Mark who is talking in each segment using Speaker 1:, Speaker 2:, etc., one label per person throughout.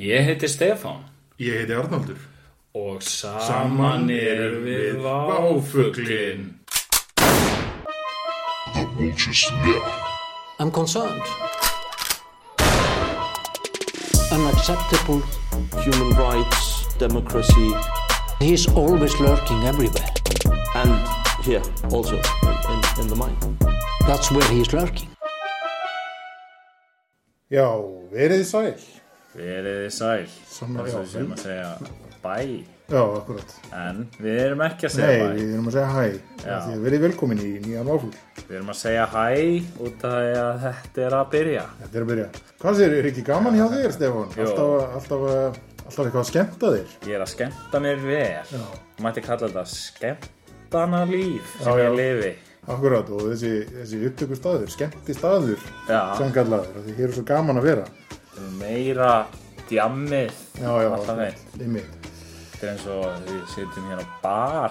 Speaker 1: Ég heiti Stefán
Speaker 2: Ég heiti Arnaldur.
Speaker 1: og saman, erum við váfuglin.
Speaker 3: I'm concerned. Unacceptable.
Speaker 4: human rights, democracy,
Speaker 3: He's always lurking everywhere.
Speaker 4: and here also in, in, in the mind.
Speaker 3: That's where he's lurking.
Speaker 5: Já, verið þið sæl.
Speaker 1: Verið þið sæl.
Speaker 5: Saman
Speaker 1: Eins og við séum
Speaker 5: váfuglin.
Speaker 1: að segja bæ.
Speaker 5: Já, akkurat.
Speaker 1: En við erum ekki að
Speaker 5: Nei,
Speaker 1: segja bæ.
Speaker 5: við erum að segja hæ.
Speaker 1: Já.
Speaker 5: Þið verið velkomin í nýja váfugl.
Speaker 1: Við erum að segja hæ út af því að þetta er að byrja.
Speaker 5: Þetta er að byrja. Hvað sér, er ekki gaman hjá þér, Stefán?
Speaker 1: Jó.
Speaker 5: Alltaf, alltaf, alltaf eitthvað að skemmta þér.
Speaker 1: Ég er að skemmta mér vel.
Speaker 5: Já.
Speaker 1: Mætti kalla þetta skemmtana líf sem
Speaker 5: Já, já.
Speaker 1: ég lifi.
Speaker 5: Akkurat, og þessi, þessi upptöku staður, skemmti staður,
Speaker 1: Já.
Speaker 5: samkallaður, því hér er svo gaman að vera.
Speaker 1: Meira djammið.
Speaker 5: Já, já,
Speaker 1: Alltaf einn.
Speaker 5: einmitt.
Speaker 1: Þetta er eins og við sitjum hér á bar.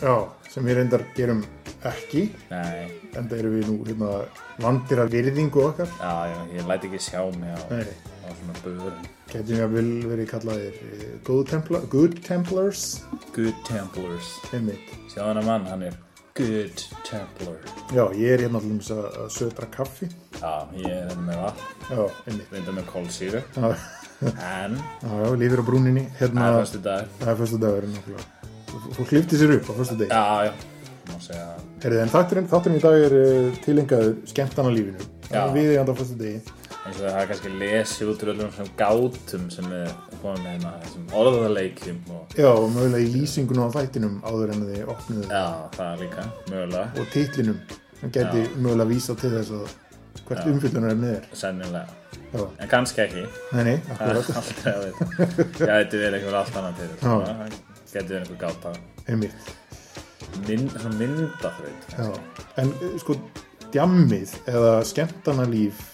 Speaker 5: Já, sem við reyndar gerum ekki,
Speaker 1: Nei,
Speaker 5: en það erum við nú hérna vandir að virðingu okkar.
Speaker 1: já, já, ég læti ekki sjá mig á,
Speaker 5: Nei.
Speaker 1: á svona börum.
Speaker 5: Gætum við að vil verið kallaðir eh, Good, Templar, good Templars,
Speaker 1: Good Templars.
Speaker 5: einmitt.
Speaker 1: Sjáðu hann að mann, hann er Good Templar.
Speaker 5: Já, ég er hérna allir að, að södra kaffi.
Speaker 1: Já, ég er hérna með vatn,
Speaker 5: Já, einmitt.
Speaker 1: reynda með kólsýru.
Speaker 5: Já,
Speaker 1: En,
Speaker 5: já, já lífir á brúninni. Hérna,
Speaker 1: það er fyrstu dag.
Speaker 5: það er fyrstu dagur, nákvæmlega. Þú hlifti sér upp á fyrstu deg.
Speaker 1: Já, já, má segja það.
Speaker 5: Herðið, en þátturinn, þátturinn í dag er uh, tilengaður skemmtana lífinu.
Speaker 1: Já.
Speaker 5: Við erum á fyrstu degi.
Speaker 1: Eins og það er kannski lesið út úr öllum þessum gátum sem við komum með hérna, þessum orðaleikjum og...
Speaker 5: Já, og mögulega í lýsingunum á þættinum áður en þið opnuðu.
Speaker 1: Já, það er líka, mögulega,
Speaker 5: Og titlinum, sem gæti mögulega vísa til þess að hvert ja. umfyllunarefnið er.
Speaker 1: sennilega.
Speaker 5: Já,
Speaker 1: En kannski ekki,
Speaker 5: nei, nei,
Speaker 1: það er
Speaker 5: akkurat,
Speaker 1: aldrei að veit. Já, þetta verið einhver allt annað til þess,
Speaker 5: Já.
Speaker 1: það getur verið einhver gáta.
Speaker 5: einmitt.
Speaker 1: Mynd, svona myndaþraut.
Speaker 5: Já, en eh, sko, djammið eða skemmtana líf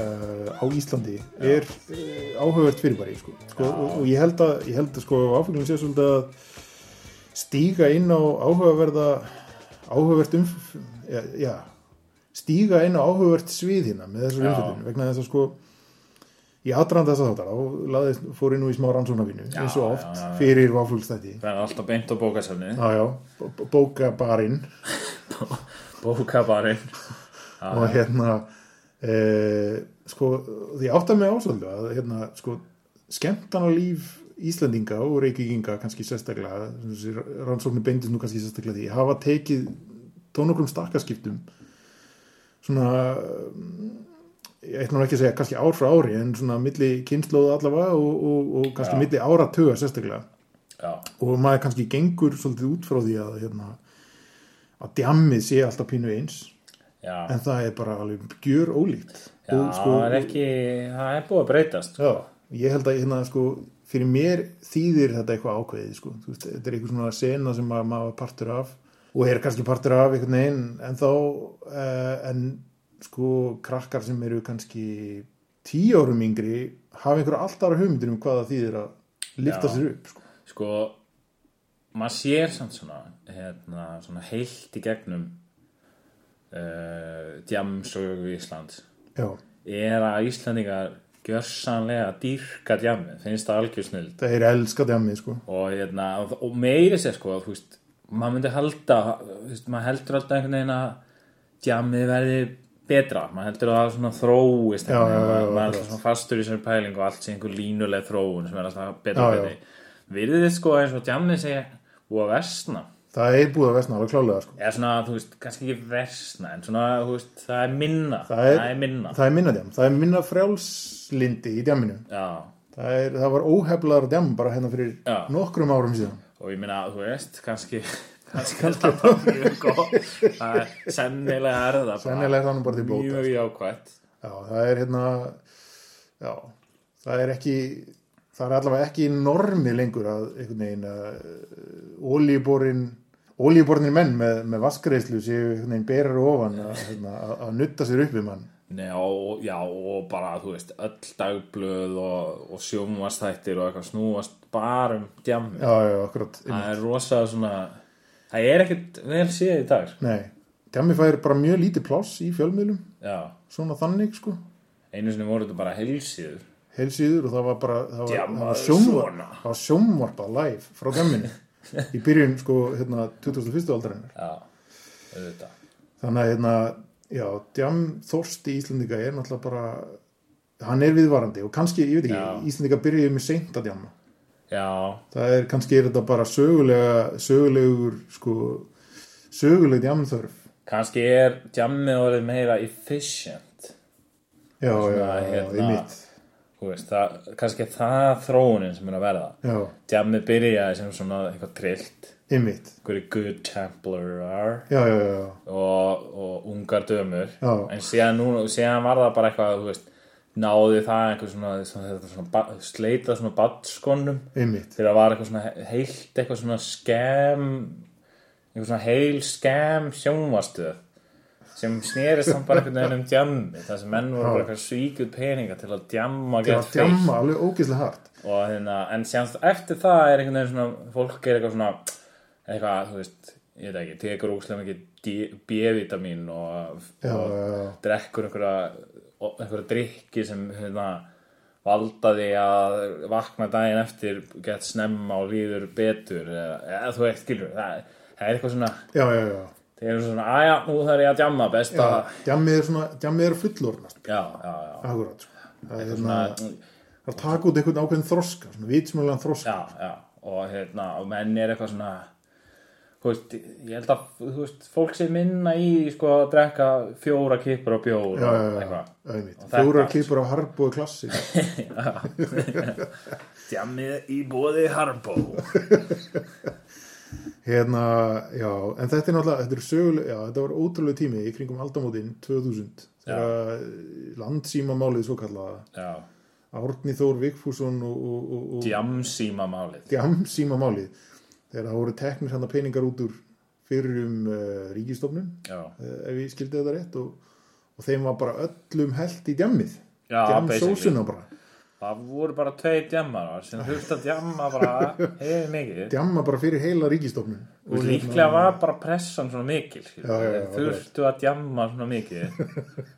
Speaker 5: uh, á Íslandi er uh, áhugavert fyrirbæri, sko. sko og, og ég held að, ég held að sko, áfélagum sé svolítið að stíga inn á áhugaverða, áhugavert um, já, já stíga inn á áhugavert svið hérna með þessar
Speaker 1: Já.
Speaker 5: umfjöldinu, vegna þess að sko, Ég aðranda þess að þáttar, þá laðist, fór ég nú í smá rannsóknarvinu, eins og oft,
Speaker 1: já, já, já.
Speaker 5: fyrir váflugstætti.
Speaker 1: Það er alltaf beint á bókasöfnið.
Speaker 5: Já, já, bókabarinn.
Speaker 1: bókabarinn
Speaker 5: og hérna e, sko, því átta mig ásöldu að hérna, sko, skemmtana líf Íslendinga og Reykjavíkinga kannski sérstaklega, þessi rannsóknir beindist nú kannski sérstaklega því, hafa tekið þó nokkrum stakkaskiptum svona mm, ég ætlum nú ekki að segja kannski ár frá ári en svona milli kynnslóð allavega og, og, og kannski milli áratuga sérstaklega
Speaker 1: já,
Speaker 5: og maður kannski gengur svolítið út frá því að hérna, að djammið sé alltaf pínu eins
Speaker 1: já,
Speaker 5: en það er bara alveg gjör ólíkt
Speaker 1: já það er ekki það er búið að breytast
Speaker 5: já, ég held að hérna sko fyrir mér þýðir þetta eitthvað ákveðið sko. Þú veist, þetta er eitthvað svona sena sem maður, maður var partur af og er kannski partur af einhvern veginn en þá uh, en sko krakkar sem eru kannski tíu árum yngri hafa einhverja allt aðra hugmyndir um hvað það þýðir að lifta
Speaker 1: Já.
Speaker 5: sér upp sko.
Speaker 1: sko, maður sér samt svona, hérna, svona heilt í gegnum uh, djamsögu Íslands
Speaker 5: já,
Speaker 1: er að Íslandingar gjörsanlega dýrka djamið, finnst það algjör snild
Speaker 5: það er elska djammið sko.
Speaker 1: og, hérna, og meiri sér sko þú veist, maður myndi halda þú veist, maður heldur alltaf einhvern veginn að djamið verði betra maður heldur að það svona þróist
Speaker 5: Já, já, já,
Speaker 1: maður, maður er
Speaker 5: akkurat.
Speaker 1: alltaf svona fastur í sér pæling og allt sé einhver línuleg þróun sem er alltaf betra
Speaker 5: Já, já.
Speaker 1: betri virðið þið sko eins og djamið sé búið að versna
Speaker 5: það er búið að vesna alveg klálega sko.
Speaker 1: eða svona, þú veist, kannski ekki versna en svona, þú veist, það er minna
Speaker 5: það, er,
Speaker 1: minna
Speaker 5: það er minna djam það er minna frjálslindi í djaminu
Speaker 1: já
Speaker 5: Það, er, það var óheflaður dem bara hérna fyrir
Speaker 1: Já.
Speaker 5: nokkrum árum síðan.
Speaker 1: og ég meina, þú veist, kannski kannski er það bara mjög gott það er sennilega er það bara
Speaker 5: Sennilega er það nú bara til bóta.
Speaker 1: mjög jákvætt
Speaker 5: Já, það er hérna, já, það er ekki, það er allavega ekki normið lengur að einhvern veginn að ólíuborin, ólíuborinir menn með, með vaskreislu séu einhvern veginn berar ofan að, hérna, að, að nutta sér upp við mann.
Speaker 1: Nei, og, já, og bara, þú veist, öll dagblöð og, og sjómastættir og eitthvað snúast bara um djammi.
Speaker 5: Já, já, akkurat.
Speaker 1: Það er rosa svona, það er ekkert vel séð í dag, sko.
Speaker 5: Nei, djammi fær bara mjög lítið pláss í fjölmiðlum,
Speaker 1: Já,
Speaker 5: svona þannig sko.
Speaker 1: einu sinni voru þetta bara heilsíður
Speaker 5: heilsíður og það var bara það var,
Speaker 1: Djamma
Speaker 5: það var,
Speaker 1: svona.
Speaker 5: sjónvarp, það var sjónvarpað live frá gamminu í byrjun sko hérna 2001. aldarinnar
Speaker 1: já, auðvitað
Speaker 5: þannig að hérna, já, djam þorsti Íslendinga er náttúrulega bara hann er viðvarandi og kannski, ég veit ekki
Speaker 1: Já.
Speaker 5: Íslendinga byrjuði með seint að djamma
Speaker 1: já,
Speaker 5: það er kannski er þetta bara sögulega sögulegur sko söguleg djamþörf
Speaker 1: kannski er jammið orðið meira efficient
Speaker 5: já, já,
Speaker 1: Svona,
Speaker 5: já,
Speaker 1: hérna,
Speaker 5: einmitt
Speaker 1: þú veist, það, kannski er það þróunin sem er að verða
Speaker 5: já,
Speaker 1: jammið byrjaði sem svona eitthvað trillt
Speaker 5: einmitt
Speaker 1: einhverju good templar
Speaker 5: já, já, já, já,
Speaker 1: og, og ungar dömur
Speaker 5: Já.
Speaker 1: en síðan, nú, síðan var það bara eitthvað þú veist, náði það einhver svona, svona, þetta svona ba- sleita svona batskonum
Speaker 5: einmitt
Speaker 1: þegar það var eitthvað svona he- heilt eitthvað svona skem eitthvað svona heil skem sjónvastuð sem snerist hann bara einhvern veginn um djammi þar sem menn voru bara eitthvað svíkuð peninga til að djamma
Speaker 5: það
Speaker 1: get
Speaker 5: var
Speaker 1: feitt
Speaker 5: djamma alveg ógeðslega hart
Speaker 1: og hérna, en sjást eftir það er einhvern veginn svona, fólk er eitthvað svona eitthvað, þú veist, ég veit ekki tekur óslega mikið B-vitamin og,
Speaker 5: já,
Speaker 1: og
Speaker 5: já, já
Speaker 1: drekkur einhverja, einhverja drikki sem hérna, valda því að vakna daginn eftir gett snemma og líður betur eða, eða þú veit, skilur það, það er eitthvað svona,
Speaker 5: já, já, já,
Speaker 1: það er svona aðja, nú þarf ég að djamma best
Speaker 5: já.
Speaker 1: að
Speaker 5: Djammið er svona, djammið er fullorðnast
Speaker 1: já, já, já,
Speaker 5: akkurat, sko. það er hérna
Speaker 1: já,
Speaker 5: að taka út einhvern ákveðin þroska, svona vitsmjölan þroska
Speaker 1: já, já. og hérna, og menn er eitthvað svona þú veist, ég held að þú veist, fólk sé minna í sko að drekka fjóra kippur og bjór
Speaker 5: já,
Speaker 1: og
Speaker 5: já, já,
Speaker 1: eitthvað
Speaker 5: einmitt
Speaker 1: Og þetta
Speaker 5: fjórar
Speaker 1: allt.
Speaker 5: klippur á harbúi klassi
Speaker 1: djammið í bóði harbó
Speaker 5: hérna, já, en þetta er náttúrulega þetta er söguleg, já, þetta var ótrúlega tími í kringum aldamótin 2000 þegar landsýmamálið svo kallaða
Speaker 1: já,
Speaker 5: Árni Þór Vigfússon og, og, og, og
Speaker 1: djamsíma málið
Speaker 5: djamsýmamálið þegar það voru teknir hann peningar út úr fyrir um uh, ríkistofnun
Speaker 1: Já,
Speaker 5: eh, ef ég skildi þetta rétt og, og þeim var bara öllum held í djammið
Speaker 1: Já, basically.
Speaker 5: djamsósuna bara
Speaker 1: það voru bara tvei djammarar sem þurfti að djamma bara hefur mikið.
Speaker 5: djamma bara fyrir heila hérna ríkistofnun
Speaker 1: Og líklega var bara pressan svona mikil.
Speaker 5: Já, já, já,
Speaker 1: Þeir Þurftu að djamma svona mikið.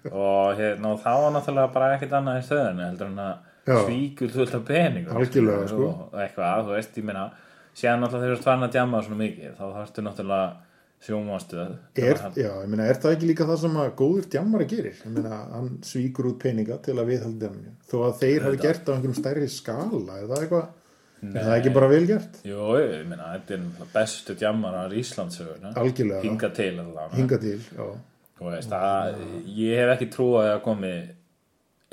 Speaker 1: og hérna, og þá var náttúrulega bara ekkert annað í stöðinu heldur en
Speaker 5: Já.
Speaker 1: að svíkul þú alltaf peningum.
Speaker 5: Algjörlega, sko.
Speaker 1: Og eitthvað, þú veist, ég meina, séðan náttúrulega þeir eru tvarn að djamma svona mikið. Þá þarftu náttúrulega sjómanstöð.
Speaker 5: er, já, ég meina, er það ekki líka það sem að góður djammari gerir ég meina, hann svíkur út peninga til að viðhaldi djamminu þó að þeir hafi gert á einhverjum stærri skala er það eitthvað, er það ekki bara vel gert
Speaker 1: Jú, ég meina, þetta er náttúrulega bestu djammarar Íslandsöguna.
Speaker 5: Algjörlega.
Speaker 1: Hinga til allavega.
Speaker 5: hinga til, já,
Speaker 1: Þú veist, að, ég hef ekki trú að það komi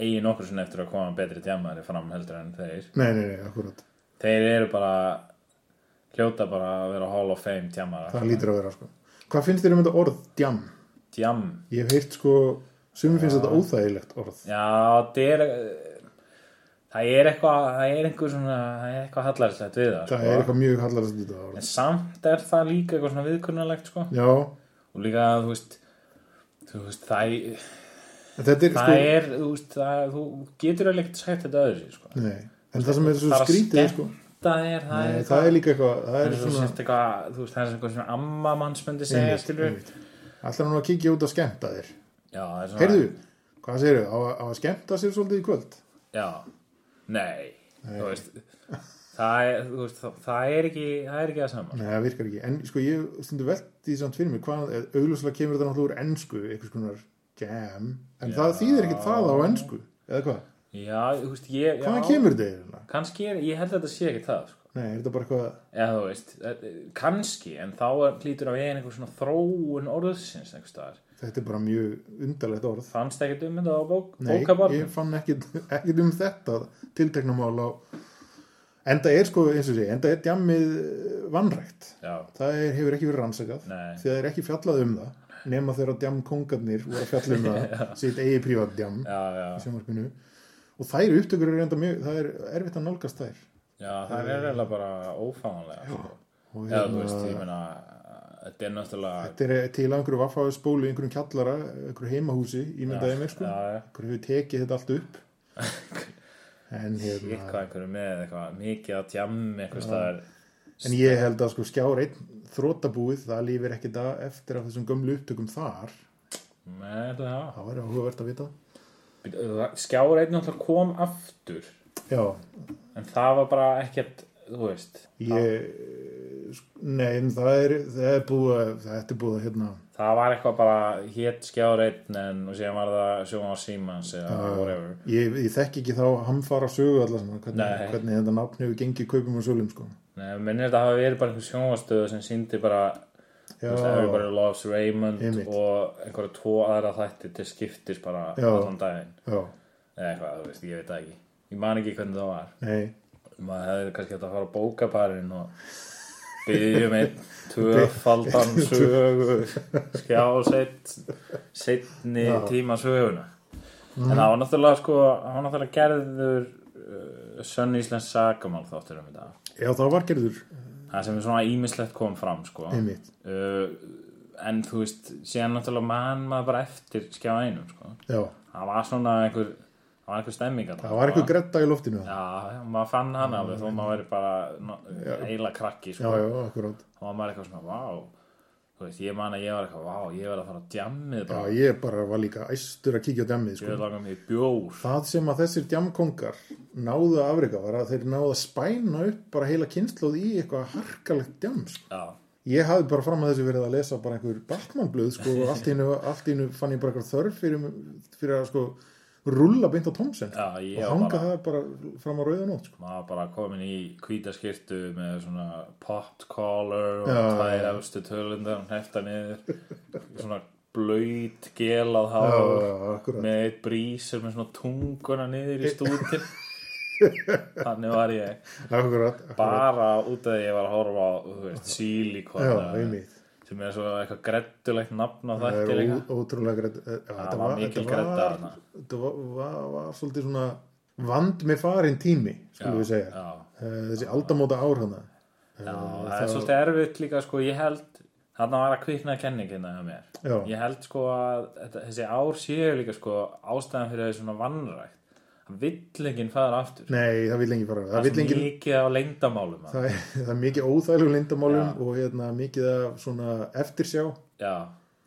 Speaker 1: eigi nokkur sinni eftir að koma betri djamari fram heldur en þeir
Speaker 5: nei, nei, nei, akkurat
Speaker 1: þeir eru bara hljóta bara að vera Hall of Fame djamara
Speaker 5: það lítur að vera, sko hvað finnst þér um þetta orð, djam?
Speaker 1: djam,
Speaker 5: ég hef heyrt, sko, sumum finnst þetta óþægilegt orð
Speaker 1: já, það er það er eitthvað það er einhver svona, það er eitthvað hallarslegt við það, sko.
Speaker 5: það er eitthvað mjög hallarast þetta orð
Speaker 1: en samt er það líka eitthvað svona viðkunnalegt, sko
Speaker 5: já,
Speaker 1: og líka, þú veist þú veist, það,
Speaker 5: en þetta er,
Speaker 1: það
Speaker 5: sko
Speaker 1: er þú veist, það, þú getur alveg ekkert sagt þetta öðru, sko
Speaker 5: Nei, en það sem er svo
Speaker 1: það er að
Speaker 5: skrítið er, sko,
Speaker 1: skemmta þér það
Speaker 5: nei,
Speaker 1: er
Speaker 5: það er líka eitthvað það er
Speaker 1: Þú
Speaker 5: svona,
Speaker 1: sért eitthvað, þú veist, það er eitthvað svona amma manns myndi segja,
Speaker 5: Einmitt,
Speaker 1: skilur
Speaker 5: einmitt. alltaf hann að kíkja út að skemmta þér
Speaker 1: Já, það er svona
Speaker 5: heyrðu, hvað segirðu, á, á að skemmta sér svolítið í kvöld
Speaker 1: Já, nei, þú veist Það er, þú veist, það, það er ekki það er ekki það sama
Speaker 5: nei, það virkar ekki, en sko ég stundu velt í samt fyrir mig, hvað, eh, augljóslega kemur þetta náttúrulega úr ennsku, einhvers konar jam, en það þýðir ekkert það á ennsku eða hvað,
Speaker 1: Já, þú veist, ég
Speaker 5: hvaðan
Speaker 1: já,
Speaker 5: kemur þetta eiginlega?
Speaker 1: Kannski, er, ég held að þetta sé ekki það, sko
Speaker 5: nei, er þetta bara eitthvað,
Speaker 1: Eða þú veist, eh, kannski, en þá er- hlýtur að við einhver svona þróun orðsins einhvers staðar
Speaker 5: þetta er bara mjög undarlegt orð
Speaker 1: Fannst ekkert um þetta á bók,
Speaker 5: Nei,
Speaker 1: bókabarnum?
Speaker 5: ég fann ekkit, ekkit um þetta tilteknumál á enda er sko, eins og sé, enda er djammið vannrækt
Speaker 1: Já,
Speaker 5: það er, hefur ekki verið rannsakað
Speaker 1: Nei.
Speaker 5: því það er ekki fjallað um það nema þegar djamkongarnir voru að fjalla um það sitt eigi prívat djam
Speaker 1: já, já,
Speaker 5: í sjónvarpinu. og þær upptökur er enda mjög það er erfitt að nálgast þær
Speaker 1: já, það er eiginlega bara ófáanlega, sko
Speaker 5: Og
Speaker 1: Já,
Speaker 5: hérna,
Speaker 1: þú veist, ég meina þetta er náttúrulega
Speaker 5: þetta er til að einhverju vaffaðu spólu í einhverjum kjallara, einhverju heimahúsi ímyndaði mig sko,
Speaker 1: já, já.
Speaker 5: einhverju hefur tekið þetta allt upp en hérna
Speaker 1: eitthvað einhverju með eitthvað mikið að tjammi eitthvað staðar
Speaker 5: En ég held að sko skjár einn þrótabúið, það lífir ekki það eftir af þessum gömlu upptökum þar.
Speaker 1: Nei, þetta er það
Speaker 5: Það væri áhugavert að vita.
Speaker 1: skjára einn náttúrulega kom aftur
Speaker 5: já,
Speaker 1: en það var bara ekkert þú veist,
Speaker 5: ég nei, en það er, það er búið að- þetta er búið að hérna
Speaker 1: það var eitthvað bara hétt skjára einn en og síðan var það sjóma á Siemens eða Ah,
Speaker 5: Ah.
Speaker 1: whatever
Speaker 5: ég, ég þekk ekki þá hamfara sögu allar saman, hvernig,
Speaker 1: Nei.
Speaker 5: hvernig þetta nápn hefur gengið kaupum og sölum sko
Speaker 1: Nei, mér minnir þetta hafa verið bara einhver sjónvastöðu sem síndi bara þú
Speaker 5: já,
Speaker 1: veist, Everybody Loves Raymond
Speaker 5: Einmitt.
Speaker 1: og einhverja tvo aðra þætti til skiptis bara
Speaker 5: Já.
Speaker 1: allan daginn
Speaker 5: já,
Speaker 1: eða eitthvað, þú veist, ég veit það ekki ég man ekki hvernig það var
Speaker 5: nei
Speaker 1: maður hefði kannski hægt að fara á bókabarinn og byggjum einn
Speaker 5: um
Speaker 1: tvöfaldan sögu skjá seitt seittni tíma söguna
Speaker 5: Mm.
Speaker 1: en það var náttúrulega sko það var náttúrulega gerður uh, sönn íslensk sagamál þáttur um þetta
Speaker 5: já, það var gerður,
Speaker 1: það sem er svona ímislegt kom fram sko
Speaker 5: einmitt
Speaker 1: uh, en þú veist síðan náttúrulega mann maður bara eftir skjá einum sko
Speaker 5: já,
Speaker 1: það var svona einhver það var einhver stemming þarna.
Speaker 5: það var eitthvað gretta í loftinu já,
Speaker 1: Já, já, maður fann hann alveg þó maður væri bara no- eila krakki sko.
Speaker 5: já, akkurát
Speaker 1: og maður var eitthvað svona, vá þú veist, ég man að ég var eitthvað, vá, ég var að fara á djammið
Speaker 5: já,
Speaker 1: bara,
Speaker 5: ég bara var líka æstur að kíkja á dæmið
Speaker 1: ég
Speaker 5: sko
Speaker 1: var langa mig í bjór
Speaker 5: Það sem að þessir djamkongar náðu að afrika var að þeir náðu að spæna upp bara heila kynnslóð í eitthvað harkalegt djam sko.
Speaker 1: já,
Speaker 5: Ég hafði bara fram að þessu verið að lesa bara einhver Batman-blöð sko og allt í einu, allt í einu fann ég bara eitthvað þörf fyrir, fyrir að sko rulla beint á Tomsen sko.
Speaker 1: já, ég
Speaker 5: og
Speaker 1: var
Speaker 5: hanga
Speaker 1: bara
Speaker 5: það bara fram á rauðan ótt sko.
Speaker 1: maður var bara komin í hvítaskirtu með svona pot collar og
Speaker 5: Já,
Speaker 1: tvær efstu tölundar hefta niður svona blaut gelað
Speaker 5: Já,
Speaker 1: hár
Speaker 5: akkurat.
Speaker 1: með eitt brísur með svona tunguna niður í stútin þannig var ég
Speaker 5: Akkurat, akkurat.
Speaker 1: bara út af því að ég var að horfa á þú veist,
Speaker 5: Já,
Speaker 1: sílikon
Speaker 5: einmitt.
Speaker 1: sem er svo eitthvað grettulegt nafn á
Speaker 5: Það
Speaker 1: þætti
Speaker 5: er
Speaker 1: líka
Speaker 5: ó- ótrúlega eh, greit. Það
Speaker 1: var mikil gredda þarna.
Speaker 5: Þetta var, var, var svolítið svona vand með farin tími, skulum við segja.
Speaker 1: já,
Speaker 5: Eh, Þessi aldamóta ár hana.
Speaker 1: já, það er svolítið erfitt líka sko, ég held þarna var að kvikna kenningina hjá mér
Speaker 5: Já.
Speaker 1: ég held sko að þetta, þessi ár séu líka sko ástæðan fyrir þessi svona vannrækt að villingin fara aftur
Speaker 5: Nei, það vil lengi fara. Það,
Speaker 1: það
Speaker 5: vill
Speaker 1: er
Speaker 5: enginn-
Speaker 1: svo mikið á leyndamálum maður.
Speaker 5: það, er- það er mikið óþæglu lindamálum
Speaker 1: Já.
Speaker 5: og hérna, mikið af svona eftirsjá.
Speaker 1: já,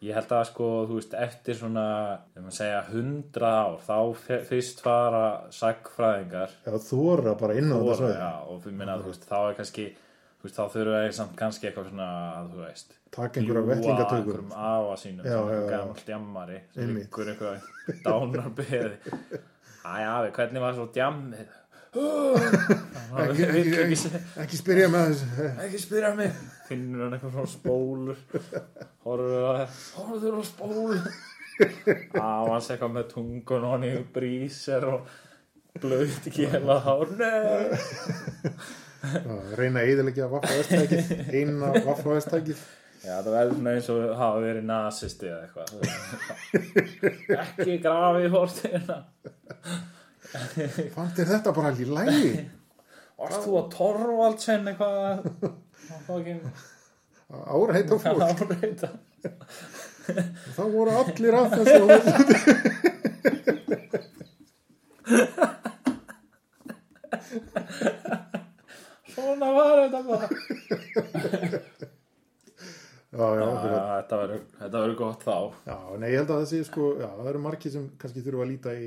Speaker 1: ég held að sko þú veist, eftir svona, ef maður segja hundra ár, þá fe- fyrst fara sagfræðingar
Speaker 5: Já, þóra bara inn á þetta
Speaker 1: og,
Speaker 5: svæði.
Speaker 1: já, og fyrir minna, þú veist, þá er kannski þú veist, þá þurfa ég samt kannski eitthvað svona að þú veist
Speaker 5: Takk einhverja
Speaker 1: ljúga
Speaker 5: vettlingatökum.
Speaker 1: einhverjum afa sínum
Speaker 5: Já, já, já.
Speaker 1: gamall djammari sem
Speaker 5: Einmitt.
Speaker 1: ykkur eitthvað dánarbeði Æ, afi, hvernig var svo djammið? Það vil ekki segja-
Speaker 5: Ekki spyrja með þessu.
Speaker 1: ekki spyrja mig finnur hann eitthvað svona spólur horfður á það horfður á spólur aðans eitthvað með tungun og hann í brísir og blöðt ekki hela hár nei
Speaker 5: Já, reyna að eðilegja vaffaðastækið. Eina vaffaðastækið.
Speaker 1: Já, það verður svona eins og hafa verið nazisti eða eitthvað. Ekki grafi í hórtina.
Speaker 5: Fannst þér þetta bara allir lægi?
Speaker 1: Varst þú að Torvaldsen eitthvað að fókin
Speaker 5: Árætt á fólk.
Speaker 1: áreita?
Speaker 5: Þá voru allir að þessu og þessu.
Speaker 1: Svona var þetta bara.
Speaker 5: Já, já,
Speaker 1: Já,
Speaker 5: já.
Speaker 1: Þetta verður- þetta verður gott þá.
Speaker 5: Já, nei, ég held að það sé sko, já, það eru margir sem kannski þurfa að líta í,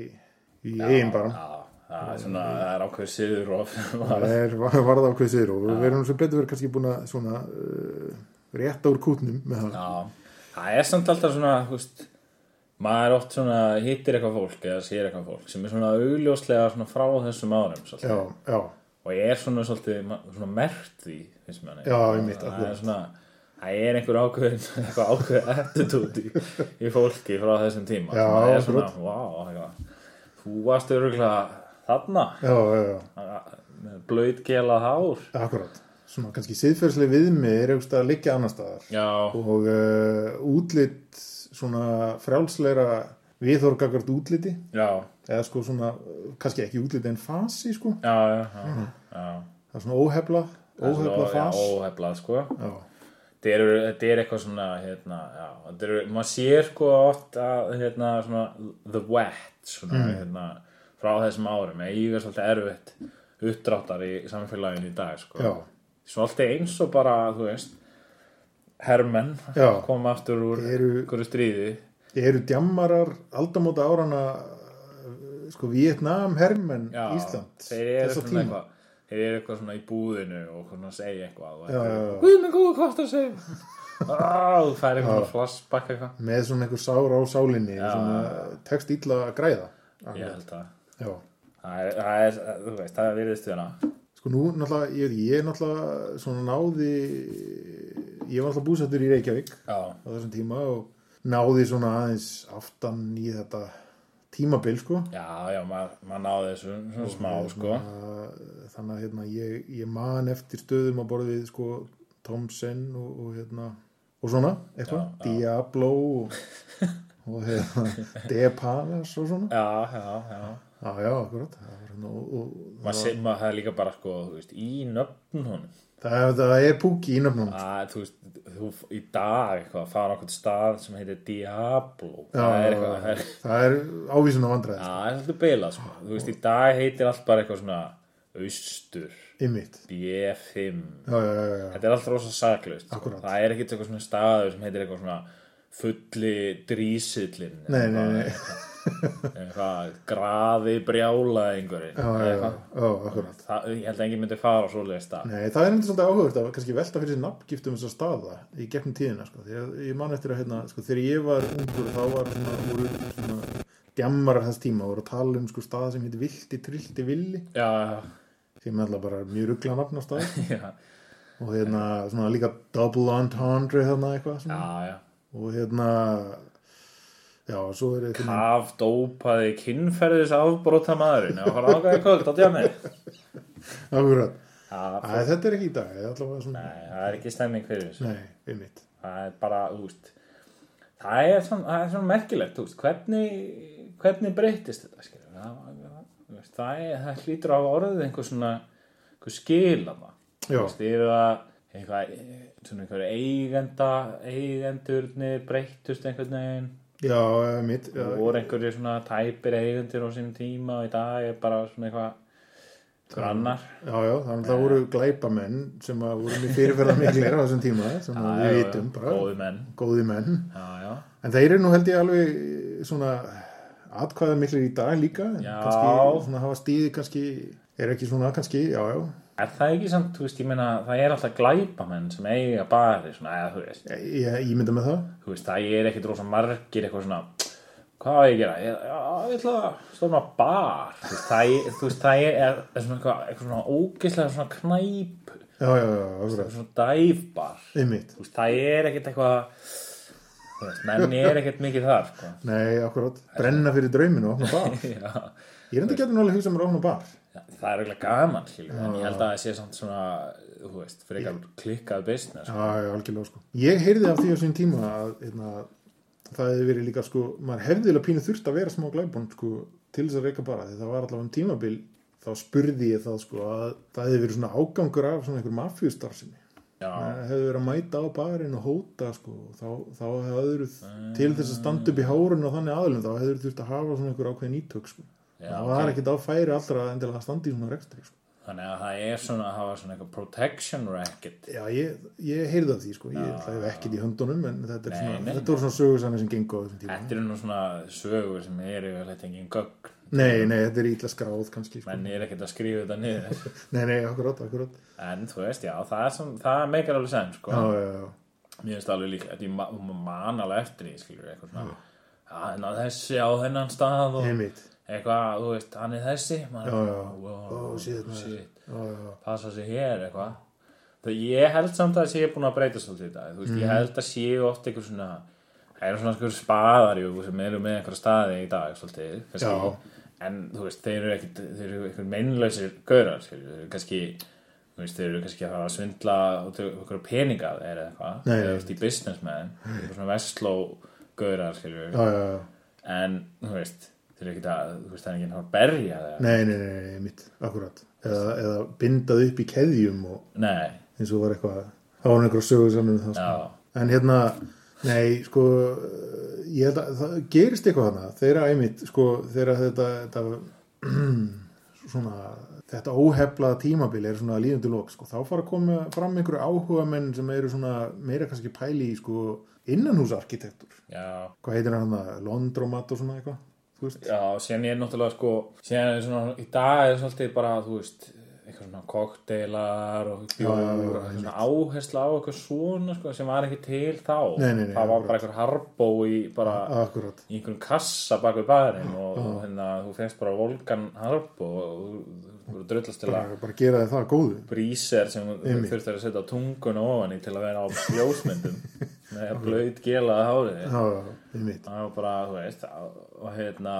Speaker 5: í eigin bara.
Speaker 1: Já, það er svona,
Speaker 5: Mm.
Speaker 1: það er ákveður siður og
Speaker 5: Það er varða ákveð sigur og við erum sem betur verið kannski búin að svona uh, rétta úr kútnum með það.
Speaker 1: Já, það er samt alltaf svona, þú veist, maður oft svona hittir eitthvað fólk eða sér eitthvað fólk sem er svona augljóslega svona frá þessum árum svolítið.
Speaker 5: Já, já,
Speaker 1: og ég er svona svolítið ma- svona mert því, finnst mér
Speaker 5: Já, einmitt,
Speaker 1: það er
Speaker 5: akkurat.
Speaker 1: svona, það er einhver ákveðin eitthvað ákveðið attitúti í, í fólki frá þessum tíma
Speaker 5: Já,
Speaker 1: Sem maður er svona, vá, eitthvað þú varst öruglega þarna
Speaker 5: já, já, já,
Speaker 1: með blöytgelað hár
Speaker 5: akkurat. Svona kannski siðferðslega viðmið er einhverstað að liggja annar staðar
Speaker 1: Já,
Speaker 5: og uh, útlitt svona frjálsleira viðhorgakart útliti
Speaker 1: já,
Speaker 5: eða sko svona, uh, kannski ekki útliti en fasi sko,
Speaker 1: já, já, já, já.
Speaker 5: það er svona óhefla,
Speaker 1: Það er svo-
Speaker 5: óhefla
Speaker 1: já,
Speaker 5: fas.
Speaker 1: Óheflað, sko
Speaker 5: Já,
Speaker 1: þetta er, þetta er eitthvað svona hérna, já, þetta er, maður sér sko oft að hérna, svona, the wet svona,
Speaker 5: Mhm.
Speaker 1: hérna, frá þessum árum ég er svolítið erfitt uppdráttar í samfélaginu í dag sko.
Speaker 5: já,
Speaker 1: svolítið eins og bara þú veist hermenn
Speaker 5: Já.
Speaker 1: koma aftur úr
Speaker 5: Eru-
Speaker 1: einhverju stríði
Speaker 5: eru djammarar aldamóta árana sko Vietnam, Hermann,
Speaker 1: Já,
Speaker 5: Ísland
Speaker 1: þeir eru
Speaker 5: þessa
Speaker 1: svona
Speaker 5: tíma
Speaker 1: eitthvað þeir eru eitthvað svona í búðinu og svona segja eitthvað og
Speaker 5: Já, já, já.
Speaker 1: Guð minn góðu hvort það segja Á, þú færi eitthvað flashback eitthvað
Speaker 5: með svona einhver sár á sálinni svona tekst illa að græða
Speaker 1: Ég held að
Speaker 5: já,
Speaker 1: Það er, það er, þú veist, það er virðist hérna
Speaker 5: sko nú náttúrulega ég, veit ekki, ég náttúrulega svona náði ég var náttúrulega búsettur í Reykjavík
Speaker 1: Já,
Speaker 5: á þessum tíma og náði svona aðeins aftan í þetta tímabil sko
Speaker 1: já, já, maður mað náði þessu svona smá, sko
Speaker 5: Að- þannig að hérna, ég, ég man eftir stöðum að borðið sko Thompson og, og hérna og svona, eitthvað, Diablo og, og hérna De Palas og svona
Speaker 1: Já, já, já
Speaker 5: já, já, akkurat það, var hérna, og, og,
Speaker 1: Maður sem maður hefði líka bara, sko, þú veist, í nöfn honum
Speaker 5: það, það er púki í nöfnum já,
Speaker 1: að þú veist, þú í dag eitthvað, að fara á okkur stað sem heitir Diablo, það er eitthvað það er,
Speaker 5: það er ávísun á vandræði
Speaker 1: já, það er svolítið beilað, sko, þú veist, í dag heitir allt bara eitthvað svona austur,
Speaker 5: ymmit,
Speaker 1: B5
Speaker 5: já, já, já, já,
Speaker 1: þetta er allt rosa saklaust, sko.
Speaker 5: Akkúrat.
Speaker 1: það er ekkit eitthvað svona staður sem heitir eitthvað svona fulli drísillin
Speaker 5: Nei, nei, nei.
Speaker 1: eitthvað graði brjála einhverju
Speaker 5: já, já,
Speaker 1: eitthvað.
Speaker 5: já, akkurat
Speaker 1: Það- ég held að enginn myndi fara á svoleiðið stað
Speaker 5: Nei, það er einhvern svolítið áhugavert að kannski velta fyrir sér nafngiftum þessar staða í gegnum tíðina sko. Því að ég man eftir að hérna, sko, þegar ég var ungur þá var svona, voru svona gemmarar þess tíma voru að tala um sko, staða sem heitir Vilti, Trilti, Villi
Speaker 1: já, já,
Speaker 5: sem er alltaf bara mjög ruggla nafn á stað
Speaker 1: já,
Speaker 5: og hérna svona líka Double Entendre þarna eitthvað svona.
Speaker 1: já, já.
Speaker 5: og hérna já, svo er eitthvað
Speaker 1: af dópaði kynferðis afbróta maðurinn að fara ákveði kvöld á djamið
Speaker 5: áhugrat
Speaker 1: það
Speaker 5: Æ, þetta er ekki í dag, það er allavega svona Nei,
Speaker 1: það er ekki stemming fyrir þessu
Speaker 5: Nei einmitt
Speaker 1: það er bara, þú veist það er svona, það er svona merkilegt þú veist, hvernig, hvernig breytist þetta skilur við? það, það, þú veist, það, er, það hlýtur á orðið einhver svona einhver skil af það Þú
Speaker 5: Já,
Speaker 1: veist, eru það eitthvað, svona einhverju eigenda eigendurnir breyttust einhvern veginn
Speaker 5: já, einmitt já,
Speaker 1: Það voru einhverju svona tæpir eigendur á sínum tíma og í dag er bara svona eitthvað grannar.
Speaker 5: Já, já, þannig að það voru glæpamenn sem að voru mjög fyrirferða miklir á þessum tíma sem að við vitum bara,
Speaker 1: Góði menn.
Speaker 5: góði menn
Speaker 1: Já, já.
Speaker 5: en þeir eru nú held ég alveg svona atkvæða miklir í dag líka en
Speaker 1: Já.
Speaker 5: kannski, svona hafa stíði kannski er ekki svona kannski, já, já
Speaker 1: Er það ekki samt, þú veist, ég meina, það er alltaf glæpamenn sem eiga bari, svona, eða þú veist,
Speaker 5: ég, ég ég mynda með það
Speaker 1: þú veist, það er ekkit rosa margir eitthvað svona, hvað á ég að gera? Ég, já, ég ætla að stofna bar. Þú veist, það er, þú veist, það er, er, er svona eitthvað, eitthvað svona ógeðslega svona knæp,
Speaker 5: Já, já, já, áfram,
Speaker 1: svona dæfbar.
Speaker 5: einmitt
Speaker 1: Þú veist, það er ekkit eitthvað, þú veist, menn er ekkit mikið þar, sko.
Speaker 5: Nei, akkurat, brenna fyrir drauminu og opna bar
Speaker 1: Já.
Speaker 5: Ég er enda getur nú alveg hugsa mér að opna bar
Speaker 1: það er eiginlega gaman skilur, en ég held að það sé samt svona þú veist, frekar klikkað business
Speaker 5: Já, já, algjörlega sko. Ég heyrði af því á sín tíma að hérna, það hefði verið líka sko, maður hefðilega pínu þurft að vera smá glæbón sko, til þess að reyka bara, því það var allavega um tímabil þá spurði ég það sko að það hefði verið svona ágangur af svona einhver mafjústarfsemi.
Speaker 1: já,
Speaker 5: Það hefði verið að mæta á barinn og hóta sko, og þá, þá hefði öðru
Speaker 1: Ah.
Speaker 5: til þess að standa upp í hárun og þannig aðlum, þá hefði þurft að hafa svona einhver ákveðin ítök sko.
Speaker 1: Já,
Speaker 5: það var ekkert á færi allra endilega að standa í svona rekstri sko.
Speaker 1: þannig að það er svona að hafa svona eitthvað protection racket
Speaker 5: Já, ég, ég heyrði af því sko, ég ætlaði ja. ekkert í höndunum en þetta, er
Speaker 1: Nei,
Speaker 5: svona,
Speaker 1: nei.
Speaker 5: þetta voru svona sögursannir sem gengu á þessum tíma.
Speaker 1: þetta eru nú svona sögur sem eru yfirleitt engin gögn
Speaker 5: Nei, nei, þetta er ítla skráð kannski sko.
Speaker 1: menn er ekkert að skrifa þetta niður
Speaker 5: Nei, nei, akkurát, akkurát.
Speaker 1: en þú veist, já, það, er sem, það meikar alveg sem sko.
Speaker 5: Já, já, já.
Speaker 1: mér finnst það alveg líka, þetta ég ma- maður man alveg eftir því, skilur eitthvað svona já, en á þessi á þennan stað og
Speaker 5: Einmitt.
Speaker 1: eitthvað, þú veist, hann er þessi maður,
Speaker 5: Já, já.
Speaker 1: wow,
Speaker 5: Ó, shit, maður.
Speaker 1: shit.
Speaker 5: Já, já,
Speaker 1: passa sig hér eitthvað það ég held samt að það sé búin að breyta svolítið í dag, þú veist,
Speaker 5: Mhm.
Speaker 1: ég held að sé oft einhver svona, það eru svona einhver spaðar jú, sem eru með einhver staði í dag svolítið, kannski, en þú veist þeir eru ekkit, þeir eru einhver meinlausir gaurar, skilur, þeir eru kannski þú veist, þeir eru kannski að fara að svindla okkur peninga eða eitthvað
Speaker 5: Nei,
Speaker 1: þeir
Speaker 5: nei,
Speaker 1: eru veist, í business með þeim, einhver svona vestló gaurar, skilur,
Speaker 5: já, já, já.
Speaker 1: en þú veist, þeir eru ekkit að þú veist, það er ekki að fara að berja þeir
Speaker 5: Nei, nei, nei, nei, einmitt, akkurát. Eða, eða bindað upp í keðjum og
Speaker 1: nei,
Speaker 5: eins og var eitthvað, það var einhver sögursannir það sko.
Speaker 1: já,
Speaker 5: En hérna, nei, sko, ég held að það gerist eitthvað hana, þeirra einmitt, sko, þeirra þetta, þetta, svona, þetta óheflaða tímabil er svona líðandi lók, sko, þá fara að koma fram einhverju áhuga menn sem eru svona meira kannski pæli í, sko, innanhúsarkitektur.
Speaker 1: já
Speaker 5: Hvað heitir hann það, Londromat og svona eitthvað? þú veist,
Speaker 1: Já, síðan ég er náttúrulega sko síðan er svona, í dag er svolítið bara þú veist, eitthvað svona kokteilar og bjór,
Speaker 5: já, já,
Speaker 1: eitthvað svona áhersla á eitthvað svona sko, sem var ekki til þá
Speaker 5: Nei, nei, nei,
Speaker 1: það var
Speaker 5: akkurat.
Speaker 1: bara eitthvað harbó í bara
Speaker 5: akkurat
Speaker 1: í einhverjum kassa bak við barinn og, og hérna, þú finnst bara volgan harbó og þú- þú þú drullast til að
Speaker 5: bara, bara gera þið það góðu
Speaker 1: bríser sem þú þurftir að setja á tungun ofan í til að vera á ljósmyndum með blöyt gelaða hárið
Speaker 5: já, einmitt,
Speaker 1: það var bara, þú veist og- og hérna